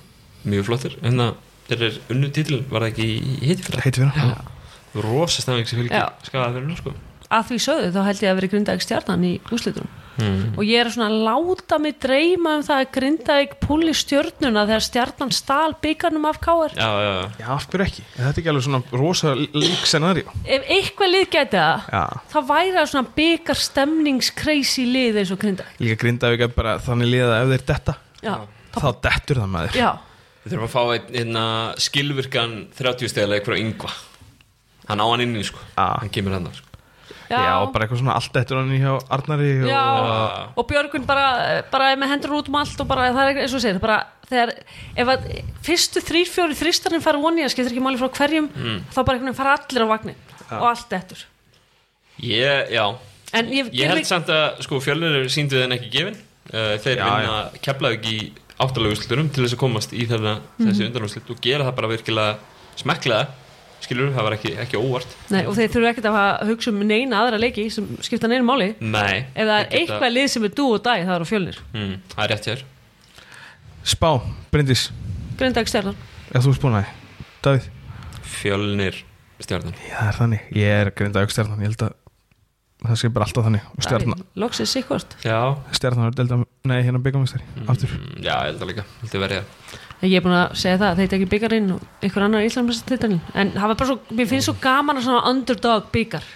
S3: mjög flottir En það, þeir eru unnu títil, var það ekki í hitt fyrir
S1: heiti fyrir hann
S3: Rosa stæðing sem fylgir
S2: Já.
S3: skadaði fyrir nú, sko
S2: að því sögðu þá held ég að veri grindaðik stjarnan í úslitunum
S3: Hmm.
S2: Og ég er svona að láta mig dreyma um það að grindaðik púli stjörnuna þegar stjarnan stál byggarnum af kár
S3: Já, já, já
S1: Já, af hverju ekki? Er Þetta er ekki alveg svona rosa lík scenari
S2: Ef eitthvað lið geti það
S1: Já
S2: þá væri það svona byggar stemningskreisi lið eins og grindaðik
S1: Líka Grindavík er bara þannig liða ef þeir detta
S2: Já,
S1: þá dettur það maður
S2: já
S3: Við þurfum að fá einn hérna, einna skilvirkan 30 stegaleik frá yngva Hann á hann inni sko
S1: Já.
S3: Hann kemur hann sko.
S1: Já, bara eitthvað svona allt eftir hann í hjá Arnari og...
S2: Já, og Björgun bara, bara er með hendur út um allt og bara, það er eins og segir bara, þegar, ef að fyrstu þrýr, fjóri þrýstarinn fara voni að skiptir ekki máli frá hverjum,
S3: Mm.
S2: þá bara einhvern veginn fara allir á vagnin og allt eftir
S3: Ég, já,
S2: en ég,
S3: ég held samt að sko, fjölnir síndu þeim ekki gefin uh, þeir
S1: Já,
S3: vinna Keflavík í áttalögusluturum til þess að komast í þarna, þessi undanúslut og gera það bara virkilega smekklega skilur, það var ekki, ekki óvart
S2: nei, og þeir þurfa ekkert að hafa- hugsa um neina aðra leiki sem skipta neina máli
S3: Nei,
S2: ef það er
S3: þeir geta-
S2: eitthvað lið sem er dú og dæ það er á fjölnir,
S3: mm, Það er rétt hér
S1: Spá, Bryndís,
S2: grindag stjarnar
S1: eða þú spánaði Davíð,
S3: Fjölnir stjarnan
S1: já, það er þannig Ég er grindaug stjarnan, ég held að það sé bara alltaf þannig og stjarnan,
S2: loksins sikkvort,
S3: Já,
S1: stjarnan er delta, nei, hérna byggamistari aftur,
S3: mm, já, ég held það líka, held ég verið
S2: ég er búin að segja það þeir tekið byggarinn og einhver annar íslamræstitilin en það var bara svo, mér finnst svo gaman að svona underdog byggar,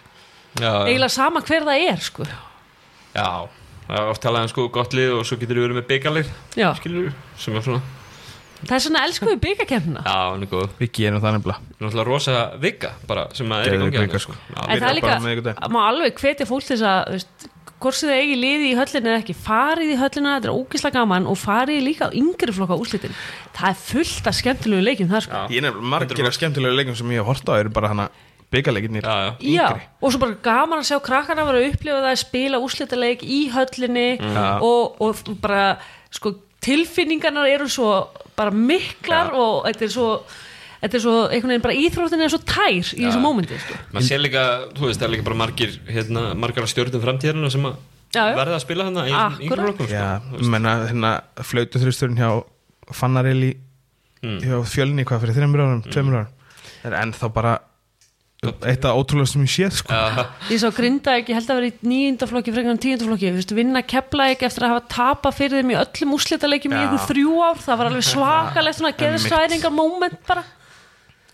S3: það
S2: eiginlega sama hver það er sko,
S3: Já, það er oft talaðan sko gott lið og svo getur við verið með byggalið
S2: já
S3: skilur sem er svona
S2: Það er svona elskum við byggakefnina
S3: Já, hann er góð
S1: við gerum það nefnilega
S3: Náttúrulega rosa vika bara sem að er í
S1: Geðveik
S3: gangi
S1: vika,
S3: hérna,
S1: sko.
S2: En
S3: Já,
S2: það er
S1: byrjar
S2: líka,
S1: bara með einhvern
S2: má alveg hvetja fólk til þess að þú veist, hvort sem þið eigi liði í höllinu eða ekki farið í höllina, þetta er ógislega gaman og farið líka á yngri flokka úrslitin Það er fullt af skemmtilegu leikjum þar sko.
S1: Ég er nefnilega margir af skemmtilega leikum sem ég hef hort á eru bara hana byggaleginir
S3: já, já.
S2: Já, og svo bara gaman að sjá krakkana vera að upplifa það að spila úrslitaleik í höllinni
S1: Mm.
S2: og, og bara sko, tilfinningarnar eru svo bara miklar og þetta er svo Þetta er svo, einhvern veginn bara íþróttin er svo tær í þessu mómenti, sko.
S3: Maður sé líka, þú veist, það er líka bara margir hérna, margar af stjórnum framtíðarinn sem að
S2: Já, já.
S3: verða að spila þarna í sko.
S2: Akkúrat.
S3: yngur okkur
S1: Já, menna hérna flautu þrjusturinn hjá Fannarelli hjá fjölni hvað fyrir þreymur árum, tveimur árum Það er ennþá bara eitt af ótrúlega sem ég séð sko.
S2: Ég sá Grindavík, ég held að vera í níundaflokki frekar en tíundaflokki, þú veist, vinna Keflavík eftir að hafa tapað fyrir þeim í öllum úrslitaleikjum í
S1: Já.
S2: einhver þrjú ár, það var alveg svakalegt svona
S1: Einmitt.
S2: geðsræðingar moment bara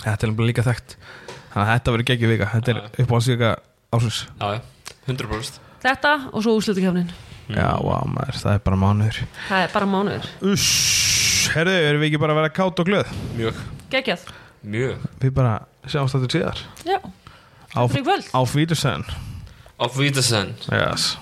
S1: Þetta er nefnilega líka þekkt Þannig að þetta verður geggjum vika, þetta er upp á svika ásins
S3: Já, já, 100%
S2: þetta og svo úrslitakeppnin
S1: Já, vá, maður, það er bara mánuður
S2: það er bara mánuður,
S1: Uss, herðu, erum við ekki bara að vera kátt og glöð?
S3: Mjög,
S2: geggjað
S3: mjög
S1: Við bara sjáumst þetta síðar
S2: já,
S1: Á,
S2: fyrir kvöld
S1: á Vídersæðan
S3: Auf Wiedersehen
S1: yes.